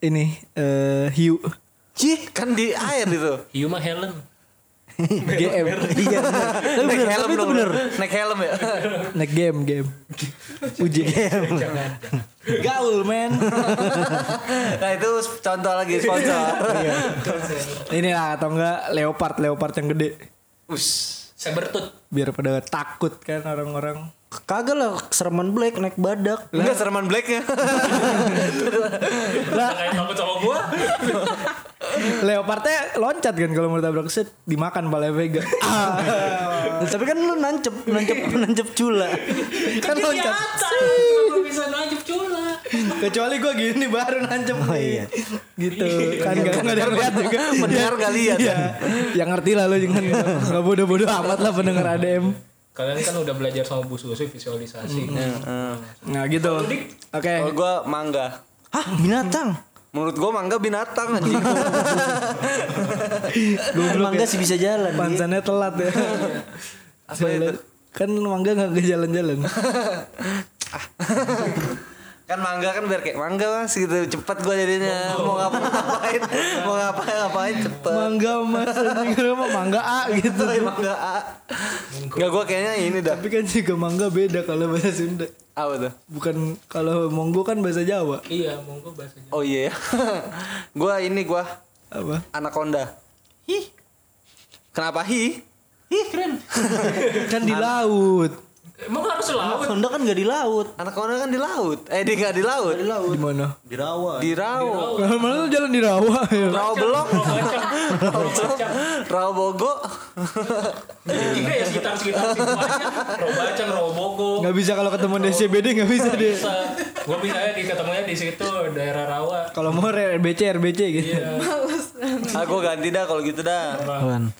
[SPEAKER 3] Ini eh hiu
[SPEAKER 4] Cih, kan di air itu.
[SPEAKER 1] Hiu mah Helen.
[SPEAKER 3] GM
[SPEAKER 2] Iya. bener. Tapi bener, tapi itu
[SPEAKER 4] dong,
[SPEAKER 2] bener.
[SPEAKER 4] lu. Naik helm ya.
[SPEAKER 3] naik game game uji game gaul men
[SPEAKER 4] nah itu contoh lagi sponsor.
[SPEAKER 2] Iya.
[SPEAKER 3] ini lah atau enggak leopard leopard yang gede
[SPEAKER 4] Us.
[SPEAKER 1] Sabertooth.
[SPEAKER 3] biar pada takut kan orang-orang
[SPEAKER 2] Kagak lah Sereman Black naik badak.
[SPEAKER 4] Enggak ya. sereman blacknya.
[SPEAKER 2] Iya.
[SPEAKER 1] Lah kayak takut sama gua.
[SPEAKER 3] leopardnya loncat kan kalau mau tabrak set dimakan pala Vega
[SPEAKER 2] Tapi kan lu nancep, nancep, nancep cula.
[SPEAKER 3] kan loncat
[SPEAKER 1] Iya, Gua bisa najib cula.
[SPEAKER 3] kecuali gue gini baru nancep
[SPEAKER 2] Oh
[SPEAKER 3] nih.
[SPEAKER 2] iya.
[SPEAKER 3] gitu kan gak, gak ada yang lihat juga
[SPEAKER 4] Mendengar gak lihat.
[SPEAKER 3] Iya. yang ngerti lah lo jangan nggak bodoh-bodoh amat lah pendengar ADM
[SPEAKER 1] Kalian kan udah belajar sama Bu Susi visualisasi.
[SPEAKER 3] nah gitu oke
[SPEAKER 4] Kalau gue mangga.
[SPEAKER 2] Hah, binatang.
[SPEAKER 4] Menurut gue mangga binatang anjing.
[SPEAKER 2] Mangga sih bisa jalan. iya. Di.
[SPEAKER 3] pansannya telat ya
[SPEAKER 4] Apa itu?
[SPEAKER 3] kan mangga nggak ke jalan-jalan
[SPEAKER 4] Kan mangga kan biar kayak mangga mas gitu cepet gue jadinya mau ngapain ngapain mau ngapain ngapain cepet.
[SPEAKER 3] mangga mas anjing, kenapa mangga A gitu
[SPEAKER 4] Coy, mangga A. Enggak gue kayaknya ini dah.
[SPEAKER 3] tapi kan juga mangga beda kalau bahasa Sunda
[SPEAKER 4] Apa tuh?
[SPEAKER 3] bukan kalau monggo kan bahasa Jawa
[SPEAKER 1] Iya, monggo bahasanya.
[SPEAKER 4] Oh iya. gue ini gue
[SPEAKER 3] apa
[SPEAKER 4] anaconda. Hi. Kenapa hi?
[SPEAKER 3] kan di laut
[SPEAKER 1] Emang Eh, harus laut.
[SPEAKER 2] Honda kan gak di laut.
[SPEAKER 4] Anaconda kan di laut. Eh dia nggak di laut.
[SPEAKER 3] di mana
[SPEAKER 4] Di rawa.
[SPEAKER 3] malah lu jalan di rawa ya
[SPEAKER 4] Rawa belong. Rawa belong. Rawa bogo.
[SPEAKER 1] Tiga ya sekitar sekitar situ aja. Robacang, Robogo.
[SPEAKER 3] nggak bisa kalau ketemu DCBD nggak bisa deh
[SPEAKER 1] Bisa. Gua misalnya di ketemunya di situ daerah rawa.
[SPEAKER 3] kalau mau RBC RBC gitu
[SPEAKER 4] Aku Ah, ganti dah kalau gitu dah.
[SPEAKER 2] Apaan?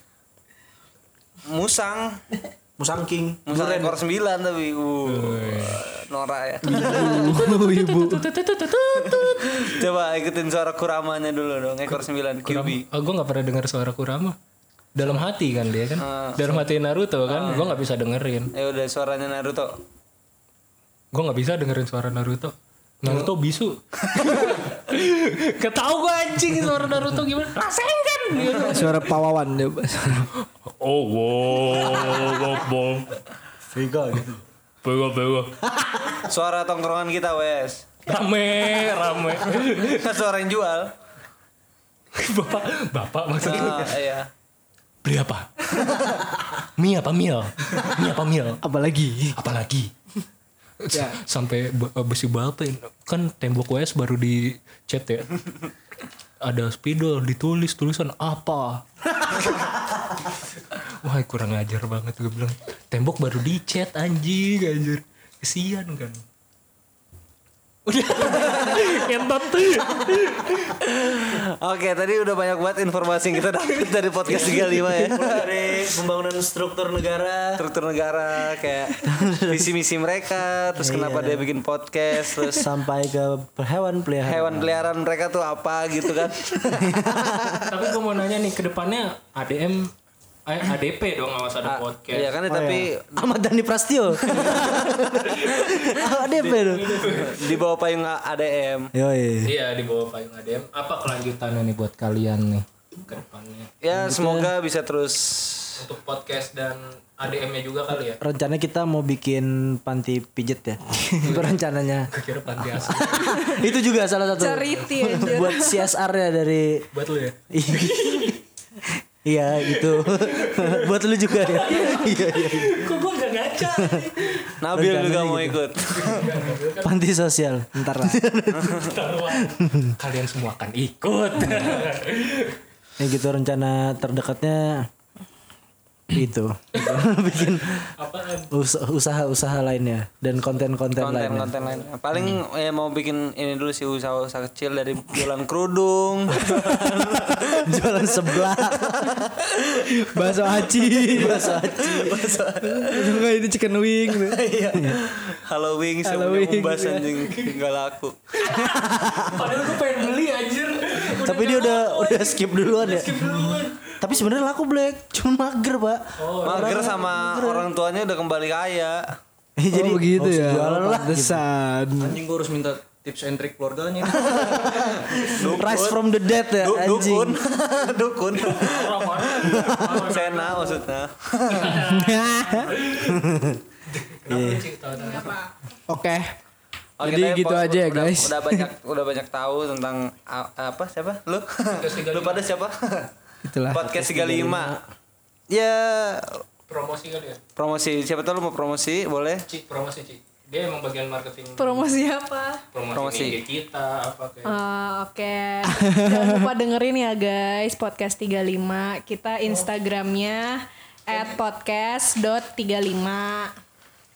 [SPEAKER 4] Musang.
[SPEAKER 2] Musang King.
[SPEAKER 4] Musang ekor sembilan tapi. Uh, Nora ya.
[SPEAKER 3] ibu ibu
[SPEAKER 4] Coba ikutin suara kuramanya dulu dong. Ekor sembilan QB.
[SPEAKER 1] Oh, gue nggak pernah dengar suara Kurama. Dalam hati kan dia kan.
[SPEAKER 3] Ah.
[SPEAKER 1] Dalam hati Naruto kan. Gue nggak bisa dengerin.
[SPEAKER 4] Ya udah suaranya Naruto.
[SPEAKER 1] Gue nggak bisa dengerin suara Naruto. Naruto bisu. Ketau gue anjing suara Naruto gimana? Rasengan. Gitu.
[SPEAKER 3] suara pawawan dia
[SPEAKER 1] Oh wow, wow, wow.
[SPEAKER 2] Vega gitu.
[SPEAKER 1] Bego, bego.
[SPEAKER 4] Suara tongkrongan kita wes.
[SPEAKER 1] Rame, rame.
[SPEAKER 4] Satu orang jual.
[SPEAKER 1] Bapak, bapak maksudnya
[SPEAKER 4] Ah, iya.
[SPEAKER 1] beli apa? Mie apa mil? Mie apa mil?
[SPEAKER 3] Apalagi
[SPEAKER 1] Apalagi sampai ba- eh, besi balpen kan tembok WS baru dicat ya. Ada spidol ditulis tulisan apa? Wah kurang ajar banget gue bilang. Tembok baru dicat anjing anjir. Kesian kan. Udah ngentot
[SPEAKER 4] Oke, tadi udah banyak banget informasi yang kita dapat dari podcast 35 ya.
[SPEAKER 6] dari pembangunan struktur negara
[SPEAKER 4] Struktur negara kayak visi-misi mereka,
[SPEAKER 6] Iya.
[SPEAKER 4] terus kenapa dia bikin podcast, terus
[SPEAKER 2] sampai ke hewan peliharaan.
[SPEAKER 4] hewan peliharaan mereka tuh apa gitu kan.
[SPEAKER 1] Tapi gue mau nanya nih kedepannya ADM eh, ADP dong awas ada podcast.
[SPEAKER 4] Iya kan tapi
[SPEAKER 2] Ahmad Dhani Prastio. ADP tuh.
[SPEAKER 4] di bawah payung ADM.
[SPEAKER 2] Yoi.
[SPEAKER 1] Iya di bawah payung ADM. Apa kelanjutannya nih buat kalian nih ke depannya
[SPEAKER 4] Ya, semoga bisa terus
[SPEAKER 1] untuk podcast dan ADM-nya juga kali ya?
[SPEAKER 2] Rencananya kita mau bikin panti pijet ya. Itu rencananya.
[SPEAKER 1] Kira panti asuhan
[SPEAKER 2] Itu juga salah satu.
[SPEAKER 5] Charity aja.
[SPEAKER 2] Buat CSR ya dari
[SPEAKER 1] buat lu ya?
[SPEAKER 2] Iya gitu. Buat lu juga ya. Iya iya.
[SPEAKER 1] Kok gue gak ngaca?
[SPEAKER 4] Nabil
[SPEAKER 2] Rencananya
[SPEAKER 4] juga mau ikut.
[SPEAKER 2] Panti sosial. Ntar lah.
[SPEAKER 1] Kalian semua akan ikut.
[SPEAKER 2] ya gitu rencana terdekatnya itu bikin
[SPEAKER 1] Apaan?
[SPEAKER 2] us- usaha-usaha lainnya dan konten-konten lainnya.
[SPEAKER 4] konten-konten lain. Paling ya mau bikin ini dulu sih usaha-usaha kecil dari jualan kerudung,
[SPEAKER 2] Jualan sebelah.
[SPEAKER 3] bakso aci, bakso aci, Enggak ini chicken wing. gitu.
[SPEAKER 4] Halloween,
[SPEAKER 3] Halloween,
[SPEAKER 4] sebelum membahas
[SPEAKER 3] iya.
[SPEAKER 4] anjing nggak laku.
[SPEAKER 1] Padahal gue pengen beli anjir. Udah
[SPEAKER 2] Tapi dia udah udah skip duluan ya. Tapi sebenarnya laku Black, cuman mager, Pak.
[SPEAKER 4] Oh,
[SPEAKER 3] Oh,
[SPEAKER 4] Mager sama orang tuanya udah kembali kaya.
[SPEAKER 2] Eh,
[SPEAKER 3] Oh, begitu
[SPEAKER 2] harus
[SPEAKER 3] ya. gitu.
[SPEAKER 2] Jualan lah.
[SPEAKER 3] Pantesan.
[SPEAKER 6] anjing gue harus minta tips and trick keluarganya
[SPEAKER 2] Rise from the dead ya,
[SPEAKER 4] Du-
[SPEAKER 2] anjing.
[SPEAKER 4] dukun, dukun. Sena maksudnya.
[SPEAKER 3] Oke.
[SPEAKER 4] Oke,
[SPEAKER 3] Jadi
[SPEAKER 4] tapi
[SPEAKER 3] gitu
[SPEAKER 4] pokoknya
[SPEAKER 3] aja ya,
[SPEAKER 4] udah-
[SPEAKER 3] guys.
[SPEAKER 4] Udah banyak udah banyak tahu tentang a- apa siapa? Lu? Lu pada siapa?
[SPEAKER 3] Itulah.
[SPEAKER 4] Podcast 35. Ya
[SPEAKER 1] Promosi kali ya?
[SPEAKER 4] promosi siapa tahu lu mau promosi boleh
[SPEAKER 1] Ci, promosi Ci. Dia emang bagian marketing.
[SPEAKER 5] Promosi apa?
[SPEAKER 1] promosi,
[SPEAKER 4] Promosi.
[SPEAKER 1] IG kita apa kayak.
[SPEAKER 5] Eh, Oke, jangan lupa dengerin ya guys podcast 35 kita Instagramnya at podcast.35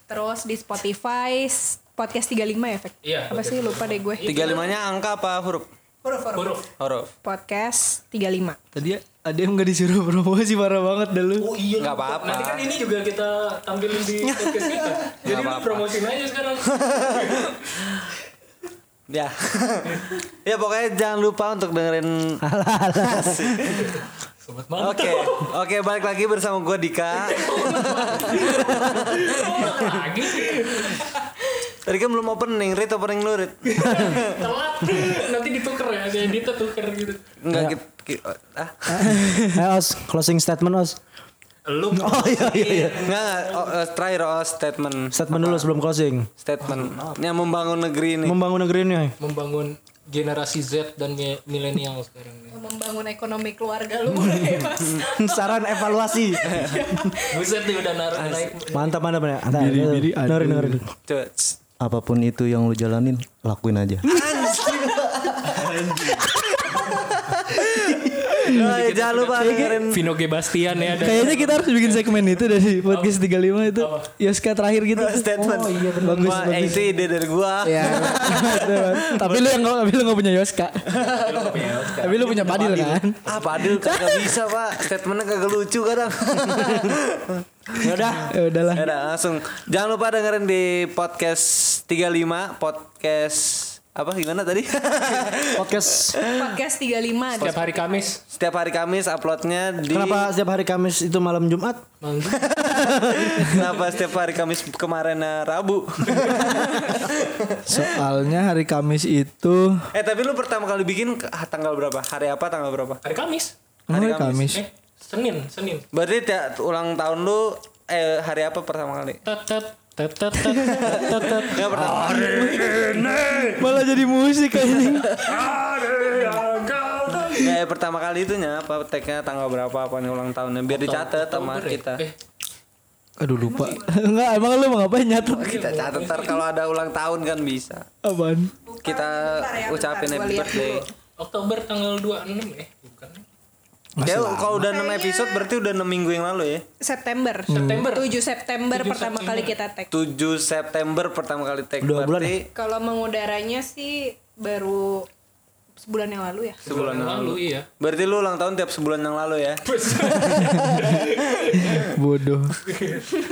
[SPEAKER 5] terus di Spotify s- podcast 35 ya Fek?
[SPEAKER 1] Iya,
[SPEAKER 5] apa sih lupa deh gue
[SPEAKER 4] 35-nya angka apa huruf?
[SPEAKER 1] Huruf.
[SPEAKER 4] Huruf.
[SPEAKER 1] Iya.
[SPEAKER 5] podcast 35
[SPEAKER 3] Tadi ada yang nggak disuruh promosi parah banget dah lu.
[SPEAKER 1] Oh iya.
[SPEAKER 4] Nggak apa-apa.
[SPEAKER 1] Nanti kan ini juga kita tampilin di podcast kita. Jadi lu promosiin aja sekarang.
[SPEAKER 4] Ya. ya pokoknya jangan lupa untuk dengerin
[SPEAKER 1] Sobat
[SPEAKER 4] Oke.
[SPEAKER 1] mantap.
[SPEAKER 4] Oke, balik lagi bersama gue Dika.
[SPEAKER 1] Lagi.
[SPEAKER 4] Tadi kan belum opening, Rit opening lu Rit.
[SPEAKER 1] Telat. Nanti ditukar ya. Kayak Dita tuker gitu.
[SPEAKER 4] Enggak ki- ki- ah.
[SPEAKER 2] Eh, Os, closing statement, Os.
[SPEAKER 1] Lu
[SPEAKER 2] Oh iya iya iya.
[SPEAKER 4] Enggak, enggak. Oh, eh, terakhir oh, statement.
[SPEAKER 2] Statement dulu sebelum closing.
[SPEAKER 4] Statement. Yang membangun negeri ini.
[SPEAKER 2] Membangun negeri ini.
[SPEAKER 1] membangun generasi Z dan mi- milenial sekarang nih.
[SPEAKER 5] membangun ekonomi keluarga lu mulai mas
[SPEAKER 2] Saran evaluasi.
[SPEAKER 1] Buset nih udah naruh naik.
[SPEAKER 2] Mantap mantap ya. Antara,
[SPEAKER 3] Biri-biri, aduh.
[SPEAKER 2] dengerin dengerin.
[SPEAKER 4] Coba, tss.
[SPEAKER 6] apapun itu yang lu jalanin lakuin aja
[SPEAKER 2] Iya,
[SPEAKER 4] Oh, ya, jangan lupa dengerin
[SPEAKER 1] Vino G. Bastian ya dan
[SPEAKER 3] Kayaknya kita harus bikin segmen itu dari podcast 35 itu. Yoska terakhir gitu.
[SPEAKER 4] statement.
[SPEAKER 3] Oh iya benar. Bagus
[SPEAKER 4] Wah, eh,
[SPEAKER 3] bagus.
[SPEAKER 4] itu ide dari
[SPEAKER 2] Iya.
[SPEAKER 4] gua.
[SPEAKER 3] Ya. tapi lu yang nggak- tapi lu nggak punya Yoska. tapi lu punya Badil kan?
[SPEAKER 4] Ah, Padil kagak bisa, Pak. Statementnya kagak lucu kadang. ya udah.
[SPEAKER 3] Ya udahlah.
[SPEAKER 4] Ya udah, langsung. Jangan lupa dengerin di podcast 35, podcast apa gimana tadi?
[SPEAKER 2] Podcast
[SPEAKER 5] podcast 35
[SPEAKER 1] setiap hari Kamis.
[SPEAKER 4] Setiap hari Kamis uploadnya di
[SPEAKER 2] Kenapa setiap hari Kamis itu malam Jumat?
[SPEAKER 4] Kenapa setiap hari Kamis kemarin eh, Rabu?
[SPEAKER 3] Soalnya hari Kamis itu
[SPEAKER 4] eh tapi lu pertama kali bikin ke- ah, tanggal berapa? Hari apa tanggal berapa?
[SPEAKER 1] Hari Kamis.
[SPEAKER 3] hari
[SPEAKER 4] Kamis.
[SPEAKER 3] Kamis.
[SPEAKER 1] Eh, Senin, Senin.
[SPEAKER 4] Berarti tiap ulang tahun lu eh hari apa pertama kali?
[SPEAKER 1] Tet tet Tetet, tetet, tetet, tetet.
[SPEAKER 4] Gak pernah.
[SPEAKER 3] Malah jadi musik anjing.
[SPEAKER 4] Kayak Nah, pertama kali itu apa tag-nya tanggal berapa apa nih ulang tahunnya biar dicatat sama
[SPEAKER 1] Oktober ya?
[SPEAKER 4] kita.
[SPEAKER 1] Eh,
[SPEAKER 3] Aduh lupa. Enggak, emang lu mau ngapain nyatet?
[SPEAKER 4] Kita catat ntar kalau ada ulang tahun kan bisa.
[SPEAKER 3] Apaan?
[SPEAKER 4] Kita ucapin happy birthday.
[SPEAKER 1] Oktober tanggal 26 ya? Bukan.
[SPEAKER 4] Ya kalau udah 6 episode berarti udah 6 minggu yang lalu ya.
[SPEAKER 5] September.
[SPEAKER 1] September.
[SPEAKER 5] 7 September pertama kali kita tag.
[SPEAKER 4] 7 September pertama kali tag
[SPEAKER 2] Dua bulan
[SPEAKER 4] berarti
[SPEAKER 5] Kalau mengudaranya sih baru sebulan yang lalu ya.
[SPEAKER 4] sebulan yang lalu.
[SPEAKER 1] Lalu iya.
[SPEAKER 4] Berarti lu ulang tahun tiap sebulan yang lalu ya.
[SPEAKER 3] Bodoh.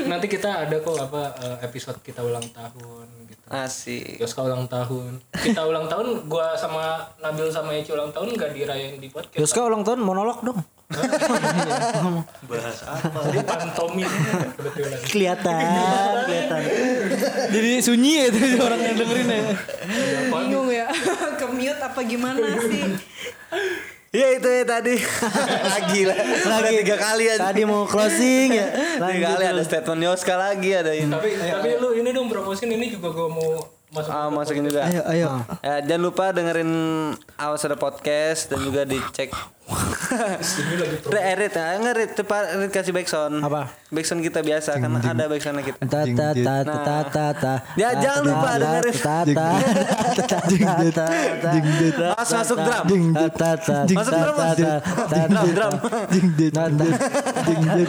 [SPEAKER 1] Nanti kita ada kok apa eh, episode kita ulang tahun gitu.
[SPEAKER 4] Asik.
[SPEAKER 1] Yoska ulang tahun. Kita ulang tahun, gua sama Nabil sama Eci ulang tahun gak dirayain di podcast.
[SPEAKER 2] Yoska ulang tahun monolog dong.
[SPEAKER 1] Jadi pantomim kebetulan.
[SPEAKER 2] Kelihatan, kelihatan.
[SPEAKER 3] Jadi sunyi ya itu orang yang dengerin ya.
[SPEAKER 5] Bingung ya. Ke mute apa gimana sih?
[SPEAKER 4] Ya itu ya tadi. lagi lah. Udah tiga kali aja.
[SPEAKER 2] Tadi mau closing ya.
[SPEAKER 4] Tiga kali ada statement Yoska lagi ada ini.
[SPEAKER 1] tapi tapi lu ini dong promosiin ini juga gua mau masuk.
[SPEAKER 4] Ah, masukin juga.
[SPEAKER 3] Ayo, ayo.
[SPEAKER 4] Eh, jangan lupa dengerin awas ada podcast dan juga dicek. Re- eh, Rit, ah, nggak, Rit, cepat, Rit, kasih backsound.
[SPEAKER 2] Apa?
[SPEAKER 4] Backsound kita biasa karena ada backsoundnya kita.
[SPEAKER 2] Ta ta ta ta ta ta ta.
[SPEAKER 4] Ya, jangan lupa dengerin.
[SPEAKER 2] Ta ta ta ta ta ta.
[SPEAKER 4] Awas masuk drum.
[SPEAKER 2] Ta ta ta.
[SPEAKER 4] Masuk drum, Mas. Drum, drum.
[SPEAKER 2] Ding ding ta ta. Ding ding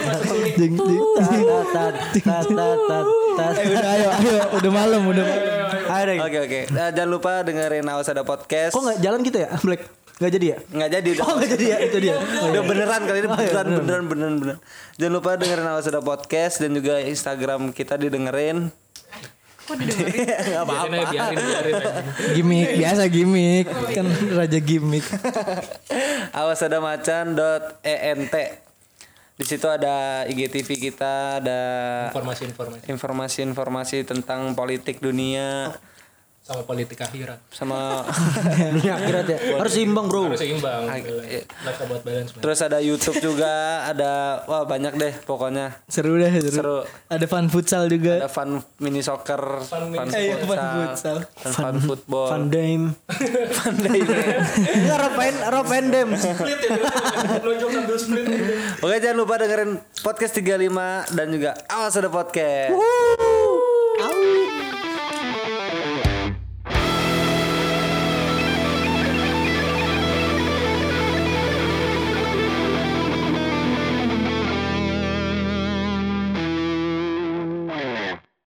[SPEAKER 2] ding ding ta ta ta ta ta ta.
[SPEAKER 3] Eh, udah ayo, ayo. Udah malam, udah malam.
[SPEAKER 2] Ayo deh.
[SPEAKER 4] Oke oke. Eh, jangan lupa dengerin awas ada podcast.
[SPEAKER 2] Kok nggak jalan gitu ya, Black? Nggak jadi ya?
[SPEAKER 4] Nggak jadi udah.
[SPEAKER 2] Oh nggak jadi ya, itu dia.
[SPEAKER 4] Udah beneran kali ini beneran beneran beneran beneran. Jangan lupa dengerin awas ada podcast dan juga Instagram kita didengerin.
[SPEAKER 1] Biarin aja, biarin, biarin aja.
[SPEAKER 3] Gimik, biasa gimik. Kan raja gimik.
[SPEAKER 4] awas ada macan dot ent di situ ada IGTV kita ada
[SPEAKER 1] Informasi-informasi
[SPEAKER 4] informasi-informasi tentang politik dunia
[SPEAKER 1] sama politik akhirat.
[SPEAKER 4] sama
[SPEAKER 2] Dunia akhirat ya. Harus seimbang, Bro.
[SPEAKER 1] Harus seimbang. Life about balance. man.
[SPEAKER 4] terus ada YouTube juga ada wah banyak deh pokoknya
[SPEAKER 3] Seru dah, seru.
[SPEAKER 4] Seru.
[SPEAKER 3] Ada fun futsal juga.
[SPEAKER 2] Iya.
[SPEAKER 4] ada fun mini soccer fun,
[SPEAKER 1] mini-
[SPEAKER 3] Eh, fun
[SPEAKER 4] futsal
[SPEAKER 3] futsal.
[SPEAKER 4] dan fun football
[SPEAKER 2] Van Dame.
[SPEAKER 4] Fun day.
[SPEAKER 2] Enggak Rob Van Rob Van Dam.
[SPEAKER 1] Split ya, nonjok sambil split.
[SPEAKER 4] oke jangan lupa dengerin podcast 35 dan juga awas ada podcast
[SPEAKER 2] Au.